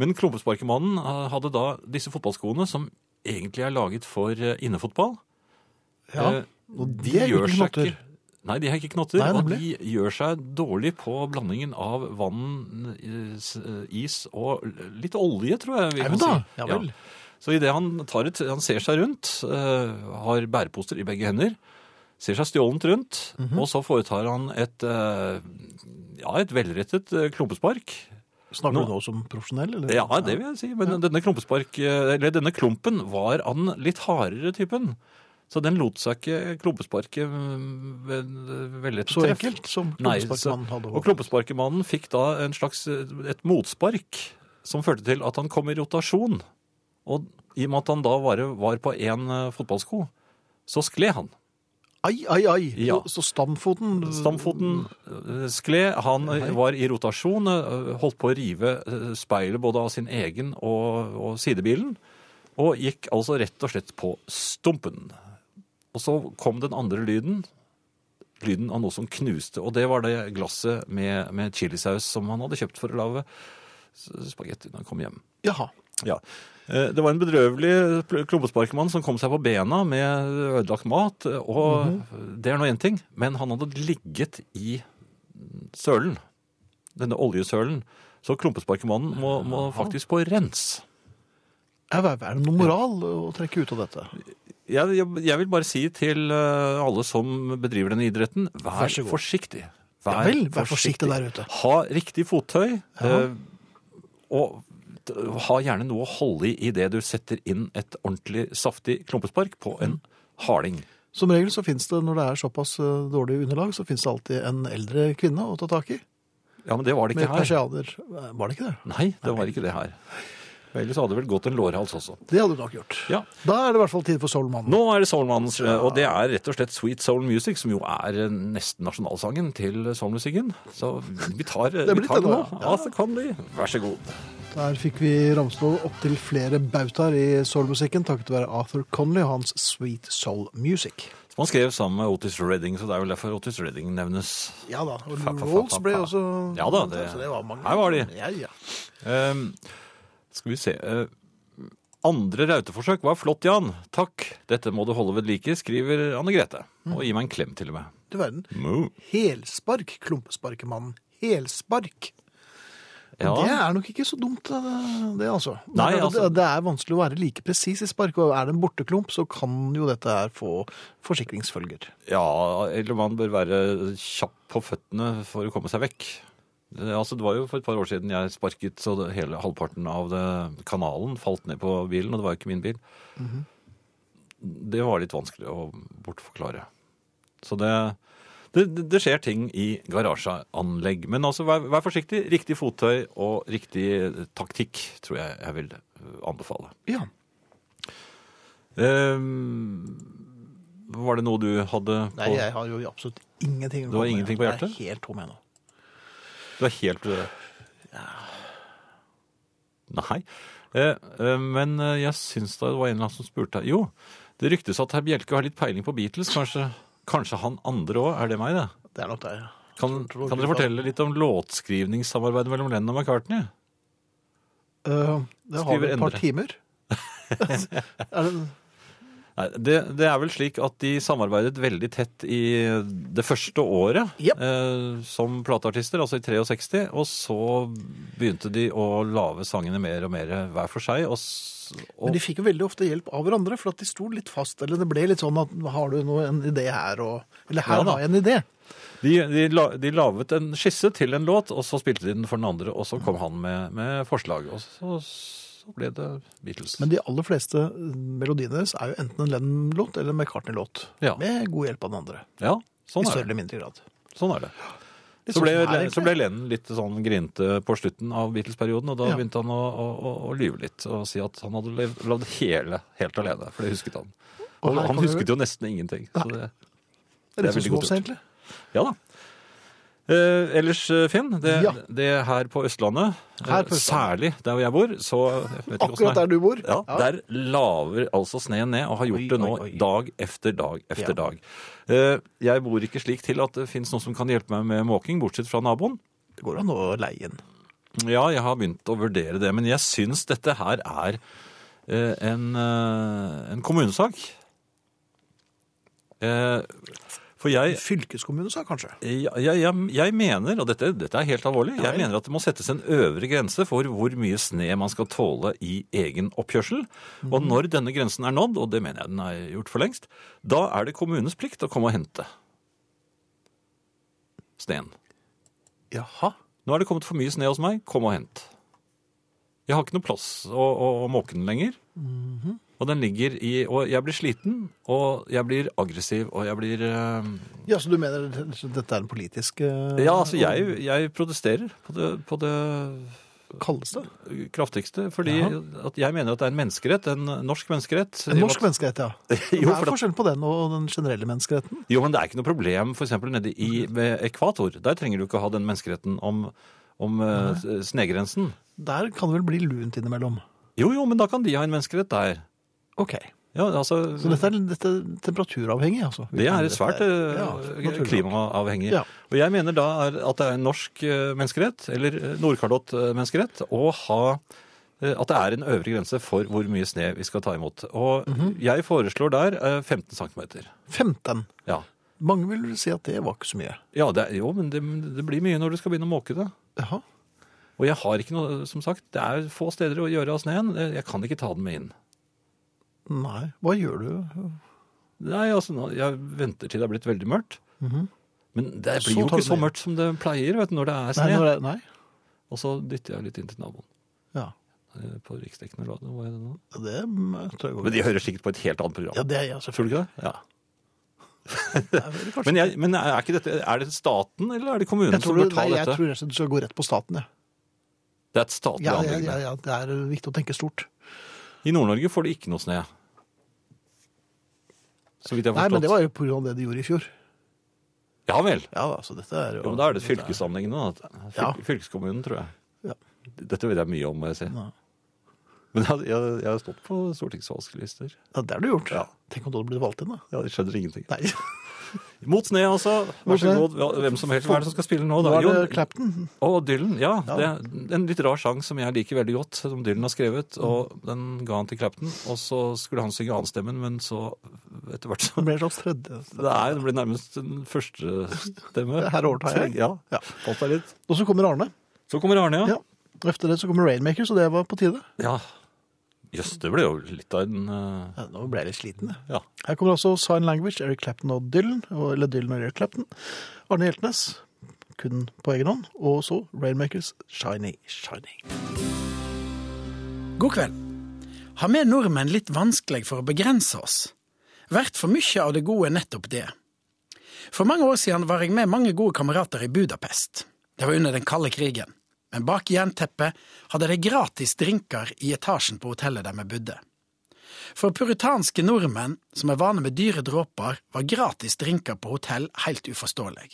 Men klumpesparkemannen eh, hadde da disse fotballskoene som egentlig er laget for eh, innefotball. Ja. Eh, Og de er uten knotter. Nei, de har ikke knotter, Nei, og de nemlig. gjør seg dårlig på blandingen av vann, eh, s- eh, is og l- litt olje, tror jeg vi Au kan da, si. ja vel. Så idet han, tar et- han ser seg rundt, eh, har bæreposer i begge hender, ser seg stjålent rundt, Mhm. og så foretar han et, eh, ja, et velrettet eh, klumpespark. Snakker Nå- du nå som profesjonell, eller? Ja, det vil jeg si, men denne, klumpespark, eh, eller denne klumpen var av den litt hardere typen. Så den lot seg ikke klumpesparke mm, ved- veldig Så treff. enkelt som Nei, klumpesparkmannen så- hadde Og håpet. klumpesparkemannen fikk da en slags, eh, et motspark som førte til at han kom i rotasjon. Og i og med at han da bare var på én eh, fotballsko, så skled han. Ai, ai, ai! Ja. Så, så stamfoten Stamfoten eh, skled, han eh, var i rotasjon, eh, holdt på å rive eh, speilet både av sin egen og, og sidebilen, og gikk altså rett og slett på stumpen. Og så kom den andre lyden, lyden av noe som knuste, og det var det glasset med, med chilisaus som han hadde kjøpt for å lage s- spagetti når han kom hjem. Jaha. Ja. Eh, Det var en bedrøvelig pl- klumpesparkemann som kom seg på bena med ødelagt mat. Og Mhm. det er nå én ting, men han hadde ligget i sølen. Denne oljesølen. Så klumpesparkemannen må, må faktisk på rens. Er er det noe moral å trekke ut av dette? Jeg, jeg, jeg vil bare si til eh, alle som bedriver denne idretten, vær, Vær så god. forsiktig. Ja vel, vær forsiktig der ute. Ha riktig fottøy, eh, og t- ha gjerne noe å holde i idet du setter inn et ordentlig saftig klumpespark på en harding. Som regel så finnes det, når det er såpass eh, dårlig underlag, så finnes det alltid en eldre kvinne å ta tak i. Ja, men det var det Med ikke her. persianer. Eh, Var det ikke det? Nei, det var ikke det her. Ellers hadde det vel gått en lårhals også. Det hadde du nok gjort. Ja. Da er det i hvert fall tid for Solmannen. Nå er det Soulmannens, og det er rett og slett Sweet Soul Music, som jo er eh, nesten nasjonalsangen til soulmusikken. Så vi tar Det det blir vi tar det nå. spennende, ja. Ja, det kan bli. Vær så god. Der fikk vi Ramslov opp til flere bautaer i soulmusikken takket være Arthur Conley og hans Sweet Soul Music. Som han skrev sammen med Otis Redding, så det er vel derfor Otis Redding nevnes. Ja da. Og Fa, fa, fa, Rolls fa, ble fa. også Ja da, det- så det var mange. her var de. Ja, ja. Ehm, skal vi se eh, Andre rauteforsøk var flott, Jan. Takk. Dette må du holde ved like, skriver Anne Grete. Og gi meg en klem, til og med. Du verden. Helspark, klumpesparkemannen. Helspark. Ja. Det er nok ikke så dumt, det, det altså. Men Nei, det- altså- det, det er vanskelig å være like presis i spark, og er det en borteklump, så kan jo dette her få forsikringsfølger. ja, eller man bør være kjapp på føttene for å komme seg vekk. Eh, Altså, det var jo For et par år siden jeg sparket så det, hele halvparten av det, kanalen falt ned på bilen, og det var jo ikke min bil. Mhm. Det var litt vanskelig å bortforklare. Så det, det, det- det skjer ting i garasjeanlegg. Men altså, vær, vær forsiktig. Riktig fottøy og riktig taktikk tror jeg jeg vil eh, anbefale. Ja. Eh, Ehm, var det noe du hadde på Nei, jeg har jo absolutt ingenting å Du har komme med. ingenting på hjertet? Jeg er helt tom jeg nå. Du er helt ja. Nei. Eh, eh, men eh, jeg syns da det var en eller annen som spurte Jo, det ryktes at herr Bjelke har litt peiling på Beatles. Kanskje, kanskje han andre òg? Er det meg, det? Det er nok der, ja. Kan, tror kan du dere det? fortelle litt om låtskrivningssamarbeidet mellom Lennon og McCartney? Eh, det har Skriver vi et par Endre. timer. er det, Nei, det, det er vel slik at de samarbeidet veldig tett i det første året Jep. eh, som plateartister, altså i 63. Og så begynte de å lage sangene mer og mer hver for seg. Og, s- men og, de fikk jo veldig ofte hjelp av hverandre, for at de sto litt fast. Eller det ble litt sånn at har du nå en idé her, og Eller her Ja da. har jeg en idé. de, de, la, de laget en skisse til en låt, og så spilte de den for den andre, og så kom han med, med forslag. Og så, så ble det Beatles. Men de aller fleste eh, melodiene deres er jo enten en Lennon-låt eller en McCartney-låt. Ja. Med god hjelp av den andre. ja, sånn I er større det. eller mindre grad. Sånn er det. Litt Så ble, sånn som her, så ble Lennon litt sånn grinte på slutten av Beatles-perioden, og da Ja. begynte han å, å, å, å lyve litt og si at han hadde levd, levd hele, helt alene, for det husket han. Og Og her han kommer- husket jo nesten ingenting. Så det, Det er litt det er veldig sånn smås, godt gjort. egentlig. ja da. Eh, ellers, eh, Finn, det, Ja. det her på Østlandet, eh, Her på Østlandet. særlig der hvor jeg bor så jeg vet ikke hvordan Akkurat det der er. du bor. Ja, Ja. Der laver altså sneen ned, og har gjort Oi, det nå oi, oi. dag efter dag Ja. efter dag. Eh, jeg bor ikke slik til at det fins noen som kan hjelpe meg med måking, bortsett fra naboen. Det går an å leie inn. Ja, jeg har begynt å vurdere det, men jeg syns dette her er eh, en, eh, en kommunesak. Eh, for jeg, Fylkeskommune, sa jeg kanskje. jeg, jeg, jeg mener, og dette, dette er helt alvorlig, Ja jeg vel. mener at det må settes en øvre grense for hvor mye sne man skal tåle i egen oppkjørsel. Mhm. Og når denne grensen er nådd, og det mener jeg den er gjort for lengst, da er det kommunens plikt å komme og hente sneen. Jaha. Nå er det kommet for mye sne hos meg. Kom og hent. Jeg har ikke noe plass å, å, å måke den lenger. Mhm. Og den ligger i Og jeg blir sliten, og jeg blir aggressiv, og jeg blir eh, Ja, Så du mener at dette er en politisk eh, Ja, altså, jeg, jeg protesterer på det, på det Kalles det? kraftigste, fordi at jeg mener at det er en menneskerett. En norsk menneskerett. En norsk menneskerett, ja. Jo, Hva for er at- forskjellen på den og den generelle menneskeretten? Jo, men det er ikke noe problem f.eks. nede i ved ekvator. Der trenger du ikke ha den menneskeretten om, om eh, snegrensen. Der kan det vel bli lunt innimellom. Jo, jo, men da kan de ha en menneskerett der. Ok. Ja, altså, Så dette er, dette er temperaturavhengig, altså? Det er Dette svært eh, ja, naturlig. klimaavhengig. Ja. Og jeg mener da er at det er en norsk eh, menneskerett, eller eh, Nordkalott eh, menneskerett, å ha eh, at det er en øvre grense for hvor mye sne vi skal ta imot. Og Mhm. jeg foreslår der eh, 15 cm. 15. Ja. Mange vil si at det var ikke så mye. ja det, er- jo, men det, det blir mye når du skal begynne å måke det. Jaha. Og jeg har ikke noe, som sagt, det er få steder å gjøre av sneen. Eh, Jeg kan ikke ta den med inn. Nei. Hva gjør du? Nei, altså, nå, jeg venter til det er blitt veldig mørkt. Men Mhm. det Så blir tar du jo ikke så den inn. mørkt som det pleier vet du, når det er sne. Nei, når det, nei. Og så dytter jeg litt inn til naboen. Ja. Eh, På riksdekkende radio, hva er det nå? Det mm, tror jeg går Men de hører sikkert på et helt annet program. Ja, det er jeg selvfølgelig. Tror du ikke det? Ja. Det er vel kanskje- Men, jeg, men er, ikke dette, er det staten eller er det kommunen jeg tror, som du, bør ta nei, jeg dette? tror rett og slett du skal gå rett på staten, jeg. Det er et statlig Ja, ja, anliggende. ja, ja, det er viktig å tenke stort. I Nord-Norge får de ikke noe snø. Så vidt jeg har Nei, men forstått. det var jo på grunn av det de gjorde i fjor. Ja vel. Ja, altså dette er jo... Jo, men da er det fylkesanliggende. da. Fylk, Ja. Fylkeskommunen, tror jeg. Ja. Dette vet jeg mye om, må jeg si. Ja. Men jeg, jeg, jeg har stått på stortingsvalgsklister. Ja, det har du gjort. Ja. Tenk om du hadde blitt valgt inn, da. Ja, de skjønner ingenting. Nei, Mot sne, altså. Mot Vær så sne. god. Ja, Hvem som helst. Hva er det som skal spille nå, nå da? er det Jo, Clapton. Og Dylan, ja. Ja. Det er en litt rar sang som jeg liker veldig godt, som Dylan har skrevet. Og den ga han til Clapton, og så skulle han synge annenstemmen, men så etter hvert så Det ble en slags tredje. Det er, det blir nærmest en førstestemme. Her overtar jeg. Ja, Ja. falt deg litt. Og så kommer Arne. Så kommer Arne, ja. Ja. Efter det så kommer Rainmaker, så det var på tide. Ja. Jøss, det ble jo litt av en eh, Ja, nå ble jeg litt sliten, jeg. Ja. Her kommer altså Sign Language, Eric Clapton og Dylan. og- Eller Dylan og Eric Clapton. Arne Hjeltnes, kun på egen hånd. Og så Rainmakers Shiny Shiny. God kveld. Har vi nordmenn litt vanskelig for å begrense oss? Vært for mye av det gode nettopp det. For mange år siden var jeg med mange gode kamerater i Budapest. Det var under den kalde krigen. Men bak jernteppet hadde de gratis drinker i etasjen på hotellet der vi bodde. For puritanske nordmenn, som er vane med dyre dråper, var gratis drinker på hotell helt uforståelig.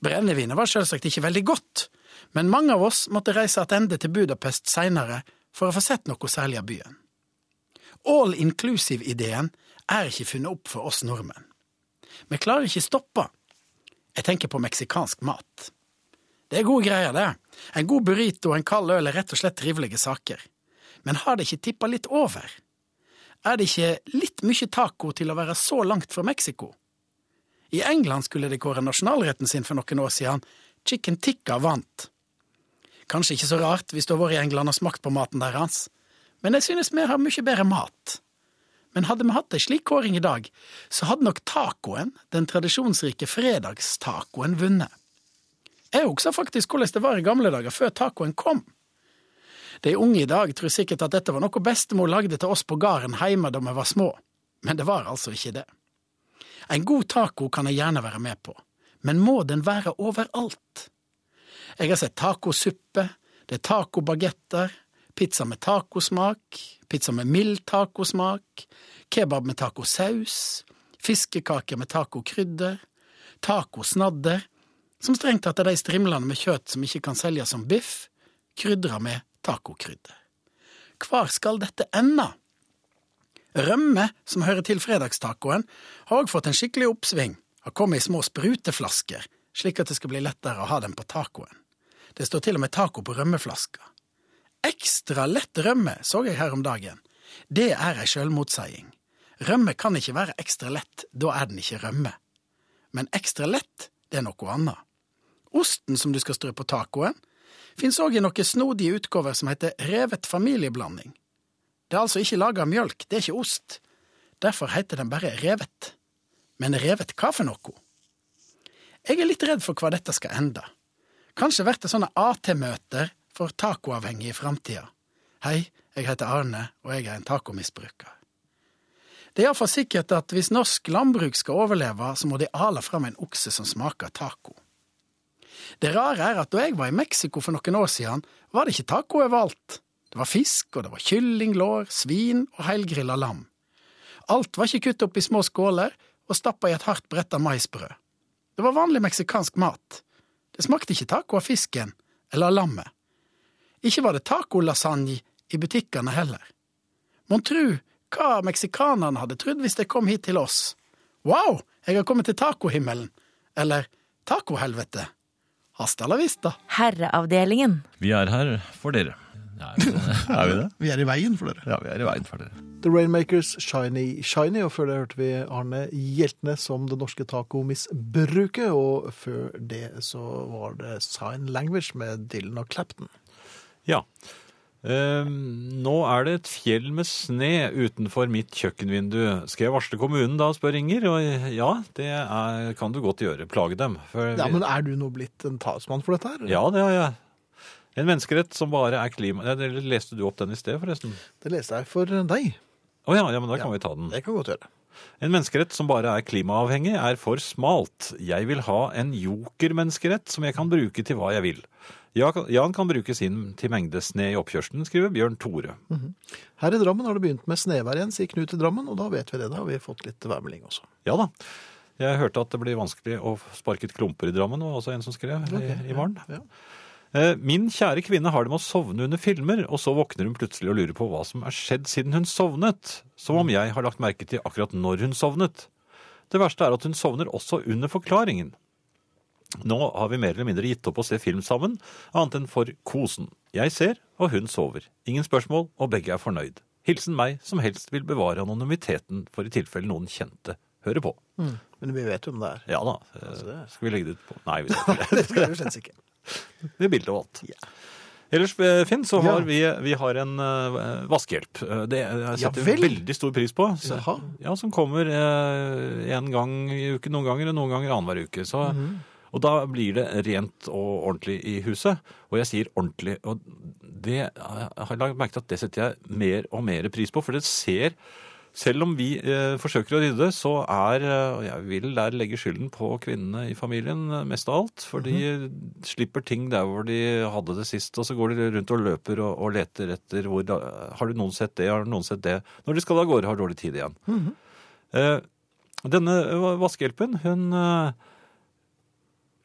Brennevinet var selvsagt ikke veldig godt, men mange av oss måtte reise tilbake til Budapest seinere for å få sett noe særlig av byen. All inclusive-ideen er ikke funnet opp for oss nordmenn. Vi klarer ikke stoppe. Jeg tenker på meksikansk mat. Det er gode greier, det. En god burrito og en kald øl er rett og slett trivelige saker. Men har det ikke tippa litt over? Er det ikke litt mye taco til å være så langt fra Mexico? I England skulle de kåre nasjonalretten sin for noen år siden. Chicken tikka vant. Kanskje ikke så rart hvis du har vært i England og smakt på maten deres, men jeg synes vi har mye bedre mat. Men hadde vi hatt ei slik kåring i dag, så hadde nok tacoen, den tradisjonsrike fredagstacoen, vunnet. Jeg husker faktisk hvordan det var i gamle dager, før tacoen kom. De unge i dag tror sikkert at dette var noe bestemor lagde til oss på gården hjemme da vi var små, men det var altså ikke det. En god taco kan jeg gjerne være med på, men må den være overalt? Jeg har sett tacosuppe, det er tacobagetter, pizza med tacosmak, pizza med mild tacosmak, kebab med tacosaus, fiskekaker med tacokrydder, tacosnadder, som strengt tatt er de strimlene med kjøtt som ikke kan selges som biff, krydra med tacokrydder. Hvor skal dette ende? Rømme, som hører til fredagstacoen, har òg fått en skikkelig oppsving. Har kommet i små spruteflasker, slik at det skal bli lettere å ha den på tacoen. Det står til og med taco på rømmeflaska. Ekstra lett rømme så jeg her om dagen. Det er ei sjølmotseiing. Rømme kan ikke være ekstra lett, da er den ikke rømme. Men ekstra lett, det er noe annet. Osten som du skal strø på tacoen, fins òg i noen snodige utgaver som heter revet familieblanding. Det er altså ikke laga av mjølk, det er ikke ost. Derfor heter den bare revet. Men revet hva for noe? Jeg er litt redd for hva dette skal ende. Kanskje blir det sånne AT-møter for tacoavhengige i framtida. Hei, jeg heter Arne, og jeg er en tacomisbruker. Det er iallfall sikkert at hvis norsk landbruk skal overleve, så må de ale fram en okse som smaker taco. Det rare er at da jeg var i Mexico for noen år siden, var det ikke taco overalt. Det var fisk, og det var kyllinglår, svin og helgrilla lam. Alt var ikke kuttet opp i små skåler og stappa i et hardt bretta maisbrød. Det var vanlig meksikansk mat. Det smakte ikke taco av fisken eller av lammet. Ikke var det tacolasagne i butikkene heller. Mon tru hva meksikanerne hadde trodd hvis de kom hit til oss. Wow, jeg har kommet til tacohimmelen. Eller tacohelvete. Hasta la vista. Herreavdelingen. Vi er her for dere. Ja, er vi det? Er vi det? Vi er i veien for dere. Ja, vi er i veien for dere. The Rainmakers, Shiny Shiny, og før det hørte vi Arne Hjeltne som det norske tacomisbruket, og før det så var det Sign Language med Dylan og Clapton. Ja. Ehm, nå er det et fjell med sne utenfor mitt kjøkkenvindu. Skal jeg varsle kommunen da, spør Inger. Og ja, det er, kan du godt gjøre. Plage dem. For Ja, vi- men er du nå blitt en talsmann for dette her? ja, det har jeg. En menneskerett som bare er klima... Nei, det leste du opp den i sted, forresten? Det leste jeg for eh, deg. Å ja, ja, men da kan vi ta den. Det kan godt gjøre. En menneskerett som bare er klimaavhengig, er for smalt. Jeg vil ha en jokermenneskerett som jeg kan bruke til hva jeg vil. Ja, kan- Jan kan bruke sin til mengde sne i oppkjørselen, skriver Bjørn Tore. Her i Drammen har det begynt med snevær igjen, sier Knut i Drammen, og da vet vi det. Da har vi fått litt værmelding også. Ja da. Jeg hørte at det blir vanskelig å sparke ut klumper i Drammen, var også en som skrev i, i morgen. Ja. Eh, Min kjære kvinne har det med å sovne under filmer, og så våkner hun plutselig og lurer på hva som er skjedd siden hun sovnet. Som om jeg har lagt merke til akkurat når hun sovnet. Det verste er at hun sovner også under forklaringen. Nå har vi mer eller mindre gitt opp å se film sammen, annet enn for kosen. Jeg ser, og hun sover. Ingen spørsmål, og begge er fornøyd. Hilsen meg, som helst vil bevare anonymiteten for i tilfelle noen kjente hører på. Men vi vet jo om det er. Ja da. eh, Altså, det- Skal vi legge det ut på Nei, vi skal ikke det. Det skal vi slett ikke. Det er bilde og alt. Ellers, eh, Finn, så har vi, vi har en eh, vaskehjelp. Eh, Det eh, setter vi vel. veldig stor pris på. Så, Jaha. ja, Som kommer eh, en gang i uken noen ganger, og noen ganger annenhver uke. Så, Og da blir det rent og ordentlig i huset. Og jeg sier ordentlig, og det jeg har lagt merke til at det setter jeg mer og mer pris på, for det ser selv om vi eh, forsøker å rydde, så er eh, Og jeg vil der legge skylden på kvinnene i familien eh, mest av alt. For de slipper ting der hvor de hadde det sist, og så går de rundt og løper og, og leter etter hvor da, Har du noen sett det? Har du noen sett det? Når de skal av gårde, har dårlig tid igjen. eh, denne eh, vaskehjelpen, hun eh,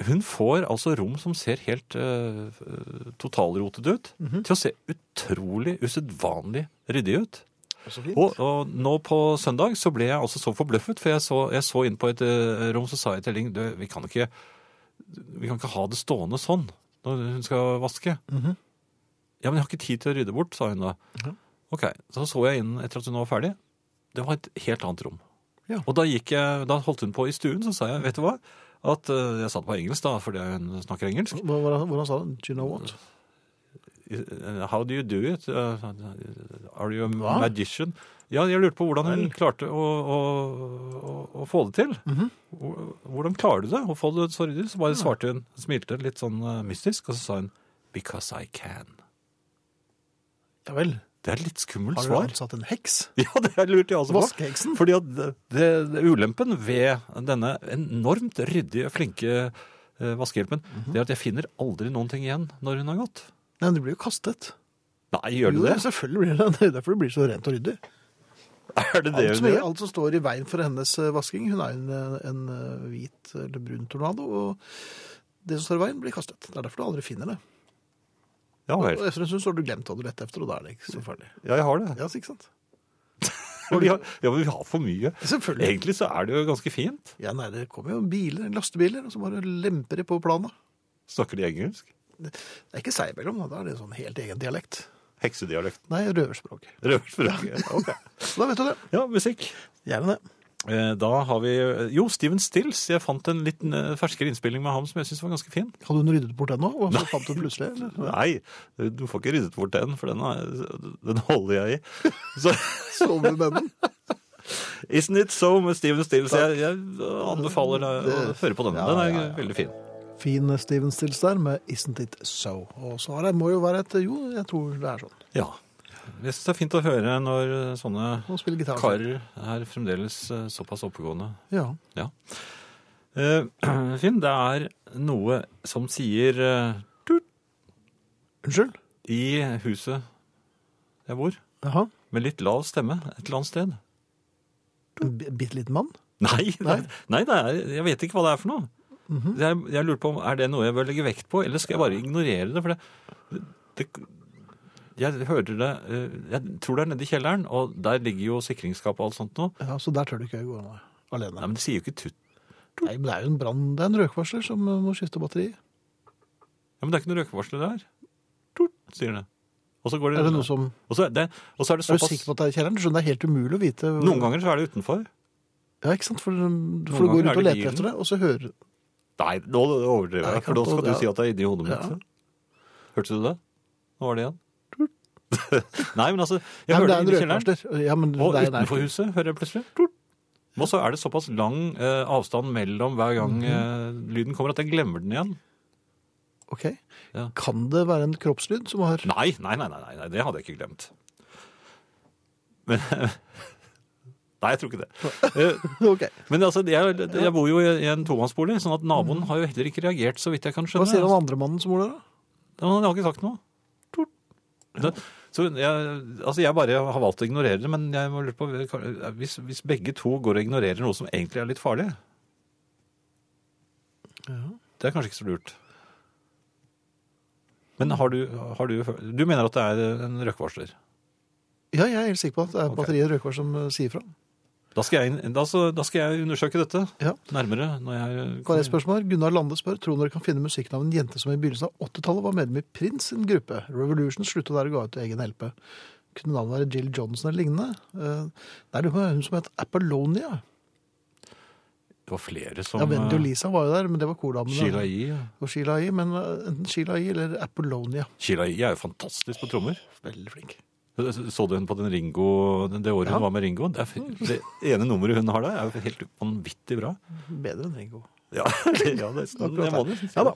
hun får altså rom som ser helt eh, eh, totalrotet ut, til å se utrolig usedvanlig ryddig ut. Så fint. Og, og nå på søndag så ble jeg også så forbløffet, for jeg så, jeg så inn på et eh, rom, så sa jeg til Elling, du, vi kan ikke, vi kan ikke ha det stående sånn når hun skal vaske. Mhm. Ja, men jeg har ikke tid til å rydde bort, sa hun da. Ok, så så jeg inn etter at hun var ferdig. Det var et helt annet rom. Ja. Og da, gikk jeg, da holdt hun på i stuen, så sa jeg, vet du hva? At eh, jeg satt på engelsk da, fordi hun snakker engelsk. Hva- Hvordan, hvordan sa du? Do you know what? Eh, How do you do it? Eh, Are you a magician? Ja, jeg lurte på hvordan hun klarte å, å, å, å få det til. Mhm. Hvor- Hvordan klarer du det? Å få det så ryddig? Så bare svarte hun, smilte litt sånn eh, mystisk, og så sa hun Because I can. Ja vel. Det er et litt skummelt Har du svar. ansatt en heks? Ja, det er lurt jeg også på. Vaskeheksen? Fordi at det, det, det ulempen ved denne enormt ryddige, flinke eh, vaskehjelpen, Mhm. det er at jeg finner aldri noen ting igjen når hun har gått. Nei, men det blir jo kastet. Nei, gjør du Jo, det? Selvfølgelig blir det det. Det er derfor det blir så rent og ryddig. Er det det Alt som, hun gjør? alt som står i veien for hennes eh, vasking. Hun er en, eh, en eh, hvit eller brun tornado, og det som står i veien, blir kastet. Det er derfor du aldri finner det. Ja vel. Og etter en stund så har du glemt hva du lette etter, og da er det ikke så farlig. Ja, jeg har det. Ja, så ikke sant? Vi har, ja, men vi har for mye. Selvfølgelig. Egentlig så er det jo ganske fint. Ja, nei, det kommer jo biler, lastebiler, og så bare lemper de på plana. Snakker de engelsk? Det er ikke seg imellom, da. Da er det sånn helt egen dialekt. Heksedialekt. Nei, røverspråk. Røverspråk. Ok. Så da vet du det. Ja, musikk. Gjerne det. Eh, Da har vi Jo, Steven Stills. Jeg fant en litt eh, ferskere innspilling med ham som jeg syns var ganske fin. Hadde hun ryddet bort den nå? Og så fant hun plutselig eller? Nei, du får ikke ryddet bort den, for den, er, den holder jeg i. Så Sov du med den? Isn't It So med Steven Stills. Jeg, jeg anbefaler deg å Det- høre på den. ja, Den er ja, ja. veldig fin. Fin eh, Steven Stills der med Isn't It So. Og svaret må jo være et jo, jeg tror det er sånn. Ja. Jeg syns det er fint å høre når eh, sånne Hun spiller gitar. karer er fremdeles eh, såpass oppegående. Ja. Ja. Eh, Finn, det er noe som sier eh, tut Unnskyld? i huset jeg bor, Jaha. med litt lav stemme et eller annet sted. En bi- bitte liten mann? Nei, nei. nei det er, jeg vet ikke hva det er for noe. jeg, jeg lurer på om er det noe jeg bør legge vekt på, eller skal jeg bare ignorere det? For det, det jeg hører det eh, Jeg tror det er nede i kjelleren, og der ligger jo sikringsskapet og alt sånt nå. Ja, Så der tør du ikke gå nå, alene. Nei, men det sier jo ikke tut. Nei, men Det er jo en brann, det er en røkvarsler som eh, må skifte batteri. Ja, men det er ikke noe røykvarsler der. Tut, sier det. Og så, går de, Er det noe som og så, er det, og så er det Er du såpass sikker på at det er i kjelleren? Du skjønner, det er helt umulig å vite. Noen ganger så er det utenfor. Ja, ikke sant? For, for du ganger går ut er og det leter bilen. etter det, og så hører Nei, nå overdriver Nei, jeg, for nå skal kanskje- du ja. si at det er inni hodet mitt. Ja. Hørte du det? Nå var det igjen. Nei, men altså, jeg Nei, men det hører det er en inni kjelleren. rødvarsler. Ja, men Og det er- det er- utenfor huset hører jeg plutselig. Tort. Og så er det såpass lang eh, avstand mellom hver Mhm. gang eh, lyden kommer at jeg glemmer den igjen. Ok. Ja. Kan det være en kroppslyd som har Nei, nei, nei, nei, nei, nei det hadde jeg ikke glemt. Men, nei, jeg tror ikke det. Eh, Ok. Men altså, jeg, jeg bor jo i i en tomannsbolig, sånn at naboen har jo heller ikke reagert, så vidt jeg kan skjønne. Mm. Hva sier han andre mannen som bor der, da? Han har ikke sagt noe. Tort. Det, så jeg, altså jeg bare har valgt å ignorere det, men jeg må lure på hvis, hvis begge to går og ignorerer noe som egentlig er litt farlig Det er kanskje ikke så lurt. Men har du, har du Du mener at det er en røykvarsler? Ja, jeg er helt sikker på at det er Ok. batteriet Røkvar som eh, sier fra. Da skal jeg, inn- da, så, da skal jeg undersøke dette Ja. nærmere. når jeg... Hva er et spørsmål? Gunnar Lande spør tror dere kan finne musikken av en jente som i begynnelsen av 80-tallet var medlem i Prince sin gruppe. Revolution slutta der og ga ut egen LP. Kunne navnet være Jill Johnson eller lignende? Eh, Nei, det var hun som het Apollonia. Det var flere som Ja, Wendy og eh, Lisa var jo der, men det var kordamene. Sheila E. Og Sheila E. Men eh, enten Sheila E. eller Apollonia. Sheila E. er jo fantastisk på trommer. Veldig flink. Så du henne på den Ringo, det året Ja. hun var med Ringo? Det, er, det ene nummeret hun har der, er jo helt vanvittig bra. Bedre enn Ringo. Ja, ja nesten en måned. synes jeg. Ja da.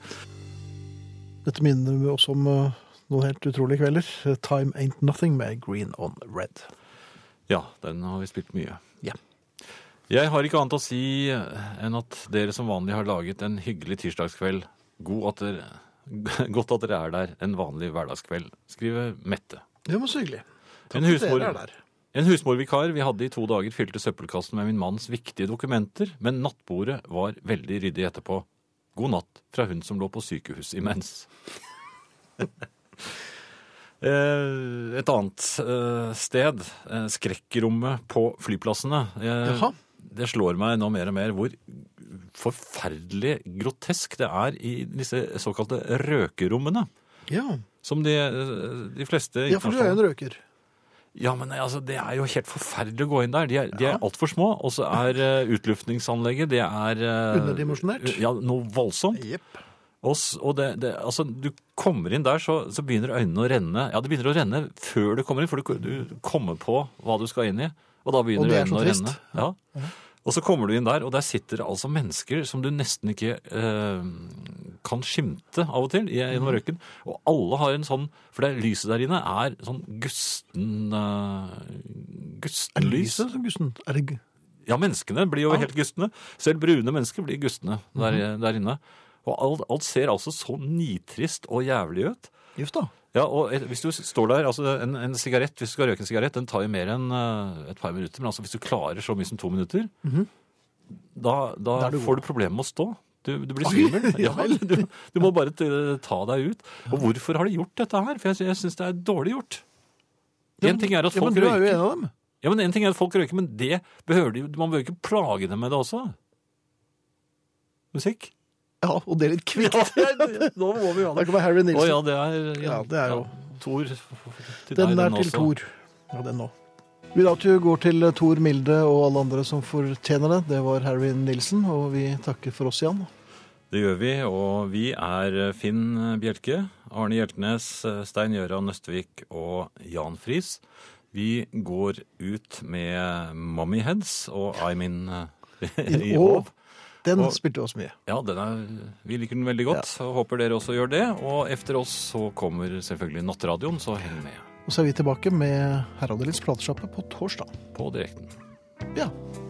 Dette minner vi oss om eh, noen helt utrolige kvelder. Eh, Time Ain't Nothing med Green on Red. Ja, den har vi spilt mye. Ja. Jeg har ikke annet å si eh, enn at dere som vanlig har laget en hyggelig tirsdagskveld. God at dere, godt at dere er der en vanlig hverdagskveld, skriver Mette. Det var så hyggelig. at En dere husmor, er der. en husmorvikar vi hadde i to dager fylte søppelkassen med min manns viktige dokumenter, men nattbordet var veldig ryddig etterpå. God natt fra hun som lå på sykehus imens. Eh, Et annet eh, sted, eh, skrekkrommet på flyplassene. Eh, Jaha. Det slår meg nå mer og mer hvor forferdelig grotesk det er i disse såkalte røkerommene. Ja. Som de, eh, de fleste ja, for du er jo en røker. ja, men altså, det er jo helt forferdelig å gå inn der. De er, de er altfor små, og så er eh, utluftningsanlegget det er eh, Underdimensjonert. Ja, noe voldsomt. Jepp. Og, s- og det, det, altså, du kommer inn der, så, så begynner øynene å renne. Ja, det begynner å renne før du kommer inn, for du, du kommer på hva du skal inn i. Og da Og begynner det er så øynene å trist. renne. Ja. Og så kommer du inn der, og der sitter det altså mennesker som du nesten ikke eh, kan skimte av og til i- Mm. gjennom røyken. Og alle har en sånn For det lyset der inne er sånn gusten eh, Er det Gustenlys. lyset, Gusten? Er det... gu- Ja, menneskene blir jo helt gustne. Selv brune mennesker blir gustne der, Mhm. der inne. Og alt, alt ser altså så nitrist og jævlig ut. Just da. Ja, og et- hvis du står der, altså en, en sigarett, hvis du skal røyke en sigarett, den tar jo mer enn eh, et par minutter, men altså hvis du klarer så mye som to minutter, da, da Mhm. er du får du problemer med å stå. Du, du blir Oi, svimmel. ja Ja, du, du må bare t- ta deg ut. Og hvorfor har de gjort dette her? For jeg, jeg syns det er dårlig gjort. En ting er at Ja, men folk du er jo røyker. en av dem. Ja, men en ting er at folk røyker, men det behøver de, man behøver ikke plage dem med det også. Musikk? Ja, og det er litt kvikt. nå må vi ha Da kommer Harry Å Nilsen. ja, det er, Ja, det er jo- Tor til Den deg, er til også. Thor. Ja, den nå. Vi da går til eh, Thor Milde og alle andre som fortjener det. Det var Harry Nilsen, og vi takker for oss igjen. Det gjør vi, og vi er eh, Finn Bjelke, Arne Hjeltnes, eh, Stein Gjøran Nøstvik og Jan Friis. Vi går ut med Mummy Heads og I'm in i Åv. Åv. Den Og- spilte oss mye. Ja, den er, vi liker den veldig godt, og håper dere også gjør det. Og efter oss så kommer selvfølgelig Nattradioen, så heng med Og så er vi tilbake med Herreavdelingens platesjappe på torsdag. på direkten. Ja.